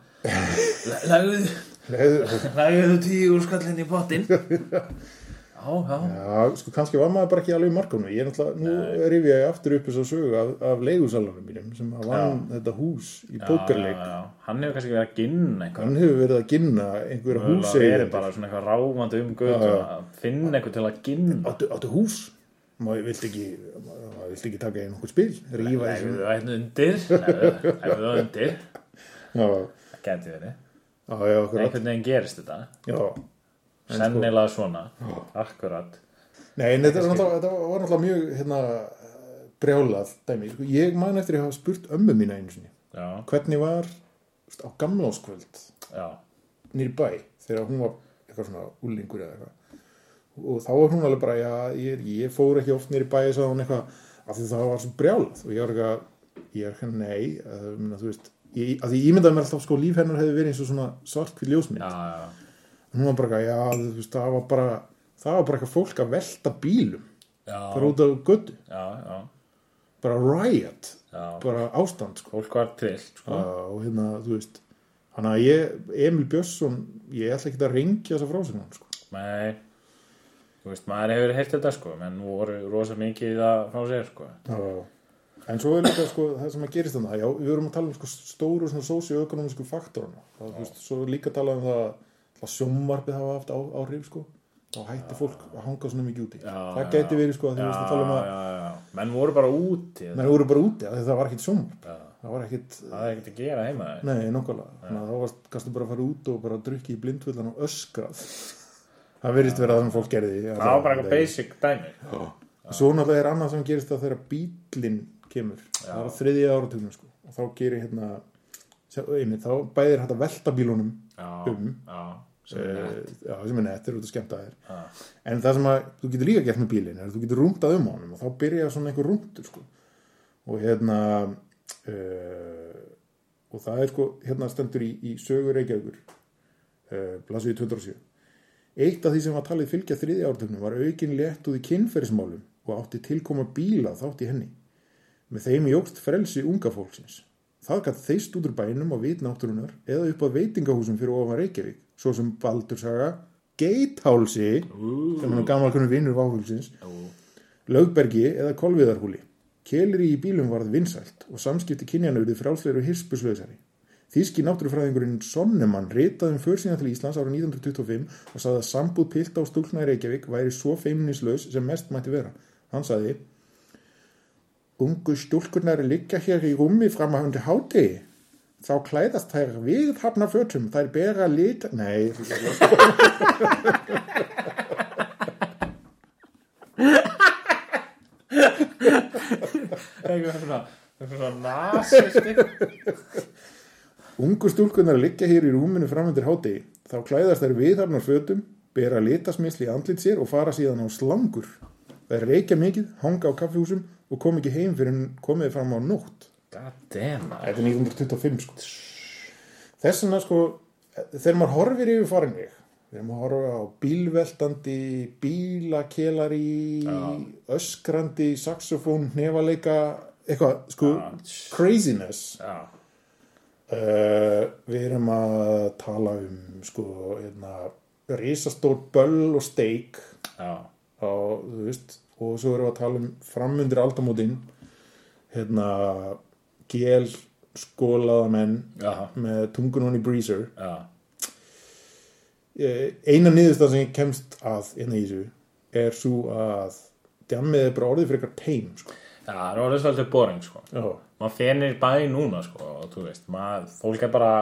Speaker 1: Le- legðu,
Speaker 5: Já,
Speaker 1: legðu þú tíu úr skallin í pottin já, já,
Speaker 5: sko, kannski var maður bara ekki alveg í markunum. Ég er náttúrulega, nú rifja ég aftur upp þess að sögu af, af leigusalanum mínum sem að vann þetta hús í
Speaker 1: já,
Speaker 5: pókerleik.
Speaker 1: já. hann hefur kannski verið að ginna eitthvað
Speaker 5: Hann hefur verið að ginna einhverja
Speaker 1: það er
Speaker 5: húseigendur.
Speaker 1: bara svona eitthvað ráfandi um götu að finna eitthvað til að ginna
Speaker 5: Áttu, áttu hús? Má ég vilt ekki, má ég vilt ekki taka einu okkur spil? Rífa
Speaker 1: legðu
Speaker 5: þessu.
Speaker 1: þú eitthvað undir legðu legðu þú undir
Speaker 5: Já,
Speaker 1: það geti verið
Speaker 5: já, já, akkurat.
Speaker 1: einhvern veginn gerist þetta
Speaker 5: Já.
Speaker 1: sennilega svona akkurat
Speaker 5: Nei, en þetta, er náttúrulega- þetta var náttúrulega mjög, hérna, brjálað dæmi. Sko, Ég man eftir að hafa spurt ömmu mína einu sinni.
Speaker 1: já,
Speaker 5: Hvernig var þú veist, á gamláskvöld?
Speaker 1: já,
Speaker 5: nýr bæ þegar hún var eitthvað svona úlingur eða eitthvað og þá var hún alveg bara, já, ég, ég fór ekki oft nýr bæ sagði hún eitthvað, af því það var svo brjálað og ég var eitthvað, ég er eitthvað nei að, minna, þú veist, ég, að því ég ímyndaði mér alltaf sko líf hennar hefði verið eins og svona svartkvít ljósmynd
Speaker 1: já, já.
Speaker 5: hún var bara, eitthvað, já, þú veist, það var bara það var bara eitthvað fólk að velta bílum
Speaker 1: Já,
Speaker 5: bara út á götu
Speaker 1: já, já,
Speaker 5: bara riot
Speaker 1: Já.
Speaker 5: bara ástand sko.
Speaker 1: fólk var trillt sko.
Speaker 5: og hérna, þú veist hann að ég, Emil Björnsson ég ætla ekki að ringja þessa frásögnum sko.
Speaker 1: Nei, þú veist, maður hefur heilt þetta sko, menn voru rosa mikið að fá sér sko.
Speaker 5: Já. En svo er líka sko, það sem að gerist þannig að já, við erum að tala um sko, stóru svona sósíu-ökonomísku faktoruna. Það, þú veist, svo er líka að tala um það að sjómvarpið hafa haft á, áhrif sko. Þá hætti fólk að hanga svona mikið úti. það gæti verið sko að því þú veist að tala um að
Speaker 1: já, já, já. menn voru bara úti
Speaker 5: menn voru bara úti að það var ekkit sjómvarp. Það var ekkit,
Speaker 1: það er ekkert að gera heima
Speaker 5: nei, nokkulega. Þannig að þá varst, kannstu bara að fara út og bara að drukki í blindvöldan og öskrað. það verðist vera það sem fólk gerði.
Speaker 1: það var bara eitthvað basic dæmi
Speaker 5: Svo náttúrulega er annað sem gerist það þegar bílinn kemur. Það er á þriðja áratugnum sko. Og þá gerir hérna, sjá, einmitt, þá bæðir hægt að velta bílunum
Speaker 1: já,
Speaker 5: um.
Speaker 1: já,
Speaker 5: Sem er nett. Eh, Ah. Já, sem er nett, þeir eru út að skemmta þér. En það sem að þú getur líka gert með bílinn er að þú getur rúndað um á honum og þá byrja svona einhver rúndur sko. Og hérna, uh, og það er sko, hérna stendur í, í sögur Reykjavíkur, uh, blasiði 207. Eitt af því sem var talið fylgja þriðja ártögnum var aukin léttúð í kynferðismálum og átti tilkoma bíla þátt í henni. Með þeim jógst frelsi unga fólksins. Það gætt þeist út úr bænum á vitnátturunar eða upp á veitingahúsum fyrir ofan Reykjavík, svo sem Baldursaga, Geithálsi, sem hann gammal konum vinnur váhulsins, Lögbergi eða Kolviðarhúli. Keleri í bílum varð vinsælt og samskipti kynjana urðu frálsleir og hirspuslausari. Þíski náttúrufræðingurinn Sonnemann ritaði um försýna til Íslands ára 1925 og sagði að sambúð pilta á stúlkna í Reykjavík væri svo feimnislaus sem mest mætti vera. Hann sagði Ungu stúlkunar liggja hér í rúmi fram að hundi háti. Þá klæðast þær við hafna fötum, þær bera lit... Nei,
Speaker 1: eitthvað svona eitthvað svona nasist eitthvað.
Speaker 5: Ungu stúlkunar liggja hér í rúminu framöndir hádegi. Þá klæðast þær viðhafnar fötum, bera litasmisli í andlit sér og fara síðan á slangur. Þær reykja mikið, hanga á kaffihúsum og kom ekki heim fyrir en komið fram á nótt.
Speaker 1: god damn maður.
Speaker 5: Þetta er 1925 sko. Þess vegna sko, þegar maður horfir yfir farin við, þegar maður horfir á bílveltandi, bílakelari, öskrandi, saxofón, hnefaleika, eitthvað sko, craziness.
Speaker 1: já,
Speaker 5: Uh, við erum að tala um sko, hérna, risastór böll og steik
Speaker 1: já,
Speaker 5: og, þú veist, og svo erum við að tala um framundir aldamótin hérna gél skólaða menn
Speaker 1: Já.
Speaker 5: með tungun honni breezer
Speaker 1: já,
Speaker 5: Eh, eina niðurstað sem ég kemst að hérna í þessu er svo að djammið er bara orðið fyrir eitthvað teim sko.
Speaker 1: já, það var svolítið boring sko
Speaker 5: Já.
Speaker 1: maður fenir bæði núna sko og þú veist, maður, fólk er bara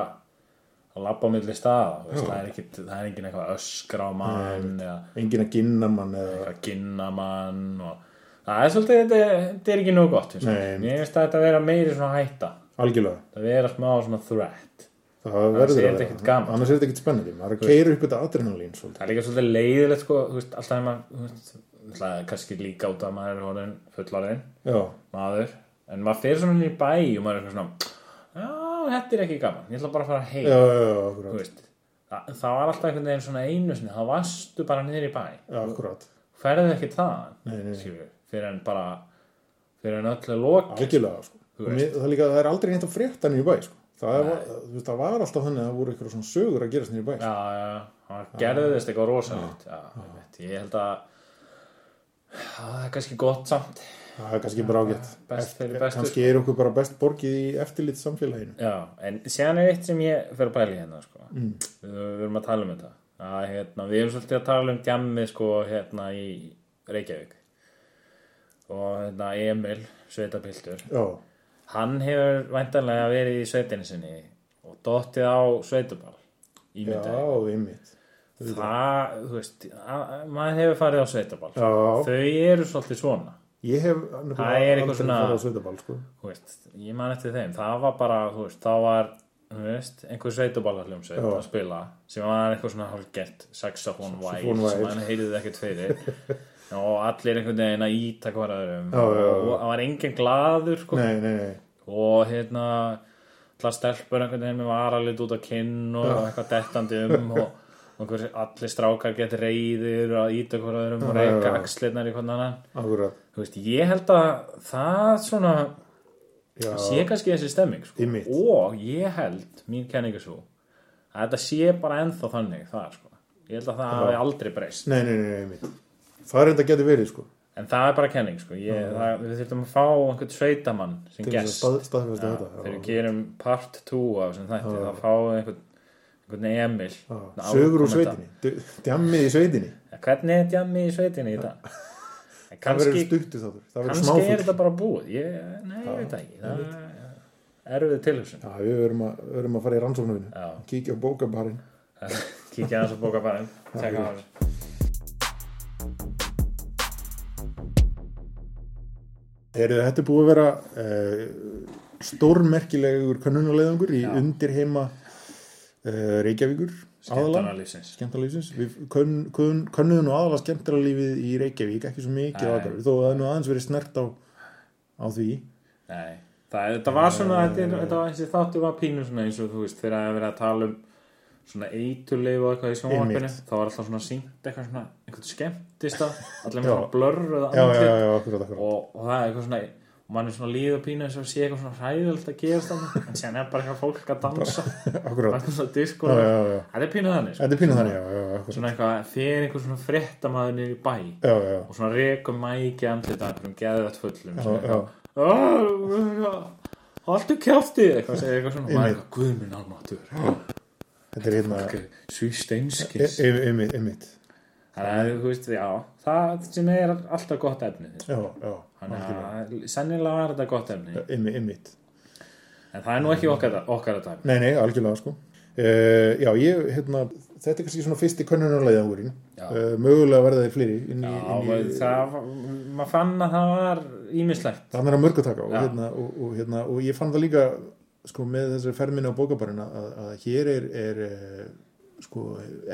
Speaker 1: að labba á milli staða þú veist, það er ekkit, það er engin eitthvað öskra á mann eða
Speaker 5: engin að ginna mann eða
Speaker 1: eitthvað ginna mann og það er svolítið, þetta, þetta er ekki nóg gott finnst mér.
Speaker 5: Nei.
Speaker 1: mér finnst að þetta vera meiri svona hætta
Speaker 5: algjörlega
Speaker 1: það vera smá svona threat
Speaker 5: það verður
Speaker 1: er
Speaker 5: að
Speaker 1: þetta
Speaker 5: vera.
Speaker 1: ekkert gaman.
Speaker 5: annars er þetta ekkert spennandi maður er að keira upp þetta adrenalín svolítið.
Speaker 1: það er líka svolítið leiðilegt sko, þú veist, alltaf er maður þú veist, það er kannski líka út að maður er orðin fullorðin
Speaker 5: já,
Speaker 1: maður, en maður fyrir svona inn í bæ og maður er eitthvað svona já, þetta er ekki gaman, ég ætla bara að fara heim
Speaker 5: já, já, já,
Speaker 1: þú
Speaker 5: akkurat,
Speaker 1: veist það, það var alltaf einhvern veginn svona einu sinni þá varstu bara niður í bæ
Speaker 5: já, akkurat.
Speaker 1: ferðu ekkert það
Speaker 5: Nei, nei, nei.
Speaker 1: skilur, fyrir en bara fyrir en öllu loki
Speaker 5: algjörlega sko.
Speaker 1: Þú
Speaker 5: Og mér, það, er líka, það er aldrei neitt að frétta nýju bæ sko. það, var, þú veist, það var alltaf þannig að það voru eitthvað svona sögur að gerast nýju bæ
Speaker 1: já, já, já, hann gerðist eitthvað rosalegt já, ég veit, ég held að Já, það er kannski gott samt
Speaker 5: það er kannski bara ágætt
Speaker 1: best fyrir bestu
Speaker 5: kannski er okkur bara best borgið í eftirlit samfélaginu
Speaker 1: já, en séðan er eitt sem ég fyrir að bæla í hérna sko. mm. við, við erum að tala um þetta að, hérna, við erum svolítið að tala um djammi sko, hérna í Reykjavík og hérna, Emil Sveitapiltur
Speaker 5: já,
Speaker 1: Hann hefur væntanlega verið í sveitinni sinni og dottið á sveitaball í
Speaker 5: já,
Speaker 1: mynda.
Speaker 5: einmitt
Speaker 1: Það, þú veist, a- a- maður hefur farið á sko. sveitaball.
Speaker 5: Já.
Speaker 1: Þau eru svolítið svona.
Speaker 5: ég hef
Speaker 1: Það er eitthvað svona-
Speaker 5: farið á sveitaball sko.
Speaker 1: Þú veist, ég man eftir þeim. Það var bara, þú veist, þá var, þú veist, einhver sveitaballarljómsveit
Speaker 5: Já.
Speaker 1: að spila sem var eitthvað svona hálfgert saxofón væl
Speaker 5: Saxofón væl.
Speaker 1: sem hann heyrðið ekkert fyrir. og allir einhvern veginn að íta hvar öðrum.
Speaker 5: Já, já, já.
Speaker 1: Og það var enginn glaður, sko.
Speaker 5: nei, nei, nei,
Speaker 1: og hérna allar stelpur einhvern veginn með varalit út á kinn og eitthvað dettandi um og og hver, allir strákar get reyðir að íta hvort öðrum og
Speaker 5: Já, já,
Speaker 1: reyka
Speaker 5: já.
Speaker 1: axlirnar í hvort annan
Speaker 5: akkurat
Speaker 1: þú veist, ég held að það svona
Speaker 5: já,
Speaker 1: sé kannski þessi stemming sko.
Speaker 5: Einmitt.
Speaker 1: og ég held, mín kenningu svo að þetta sé bara ennþá þannig það sko, ég held að það hafi aldrei breyst
Speaker 5: nei, nei, nei, nei, nei það er enda getur verið sko
Speaker 1: en það er bara kenning sko, ég, það, við þurfum að fá einhvern sveitamann sem
Speaker 5: til
Speaker 1: gest
Speaker 5: þess að stað- staðfesta
Speaker 1: Já,
Speaker 5: þetta
Speaker 1: þegar við
Speaker 5: já.
Speaker 1: gerum part 2 af þessum þætti þá fáum við einhvern, einhvern Emil
Speaker 5: Já,
Speaker 1: að
Speaker 5: sögur úr
Speaker 1: ákommenta.
Speaker 5: sveitinni d- djammið í sveitinni
Speaker 1: Ja, hvernig er djammi í sveitinni í dag En
Speaker 5: það verður
Speaker 1: kannski,
Speaker 5: stuttu þáttur það verður
Speaker 1: kannski er
Speaker 5: smáfull
Speaker 1: þetta bara búið ég, nei, ég veit það ekki það er erfið tilhugsun
Speaker 5: já, við verðum að, verðum að fara í rannsóknarvinu
Speaker 1: Já.
Speaker 5: kíkja á bókabarinn
Speaker 1: kíkja hans og bóka bara tjekka á þessu
Speaker 5: Heyrðu, þetta er búið að vera uh, stórmerkilegur kannunulegðangur í undirheima uh, Reykjavíkur
Speaker 1: skemmtana lífsins
Speaker 5: skemmtarlífsins við könn- könn- könnuðum nú aðalega skemmtarlífið í Reykjavík ekki svo mikið
Speaker 1: Nei.
Speaker 5: aðdæður þó að það er nú aðeins verið snert á, á því
Speaker 1: Nei, það, þetta var svona þetta, er- þetta var eins og þáttu var pínu svona eins og þú veist þegar það er verið að tala um svona eiturleif og eitthvað í sjónvarpinu
Speaker 5: Einmitt.
Speaker 1: þá var alltaf svona sínt eitthvað svona eitthvað skemmtist að allir með
Speaker 5: Já.
Speaker 1: svona blörruð
Speaker 5: já, já,
Speaker 1: andlit
Speaker 5: já, akkurat, akkurat
Speaker 1: og, og það er eitthvað svona og mann er svona líð og pínu eins og sé eitthvað svona hræðilegt að gerast þannig en séðan er bara eitthvað fólk að dansa bara
Speaker 5: akkurat,
Speaker 1: eitthvað svona disk
Speaker 5: já,
Speaker 1: og
Speaker 5: já, já
Speaker 1: það er pínu þannig sko.
Speaker 5: þetta er pínu þannig, já, já, akkurat
Speaker 1: svona eitthvað þegar einhver svona fréttamaður niður í bæ
Speaker 5: já, já,
Speaker 1: og svona rekum mæki andlit að einhverjum geðvægt fullum
Speaker 5: já,
Speaker 1: sem
Speaker 5: já,
Speaker 1: Haldu kjátti eitthvað segir eitthvað svona
Speaker 5: Einmitt.
Speaker 1: maður eitthvað guð minn almatur
Speaker 5: þetta er hérna
Speaker 1: svísteinskis
Speaker 5: e- e- einmitt, einmitt
Speaker 1: það er þú veist já það sem er alltaf gott efni þess.
Speaker 5: já, já,
Speaker 1: þannig að sennilega var þetta gott efni
Speaker 5: einmitt, einmitt
Speaker 1: en það er nú ekki okkar, okkar að taka
Speaker 5: Nei, nei, algjörlega sko Uh, já, ég, hérna, þetta er kannski svona fyrsti könnunarleiðangurinn
Speaker 1: Já.
Speaker 5: uh, mögulega verða þeir fleiri inn í,
Speaker 1: já
Speaker 5: inn
Speaker 1: maður-
Speaker 5: í,
Speaker 1: það var- maður fann að það var ímislegt
Speaker 5: þannig er að mörgataka og,
Speaker 1: Já.
Speaker 5: hérna, og, og, hérna, og ég fann það líka sko, með þessari ferminni á bókabarina að, að hér er, er eh, sko,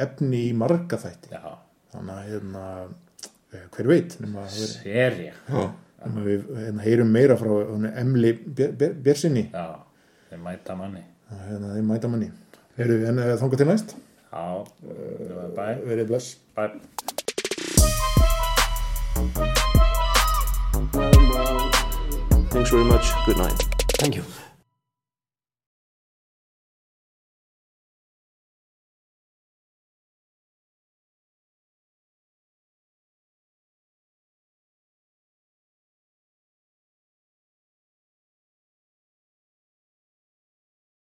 Speaker 5: efni í marga þætti
Speaker 1: já
Speaker 5: þannig að hérna, eh, hver veit nema, að vera-
Speaker 1: serja
Speaker 5: nema við hérna, heyrum meira frá hérna, Emli Björ- Björ- Björnssyni
Speaker 1: já þeir mæta manni
Speaker 5: að, hérna, þeim mæta manni Heyrðu, en eh, þangað til næst
Speaker 1: já
Speaker 5: E.
Speaker 1: bæ
Speaker 5: verið bless
Speaker 1: bæ
Speaker 4: Well, well. Thanks very much. Good night.
Speaker 3: Thank you.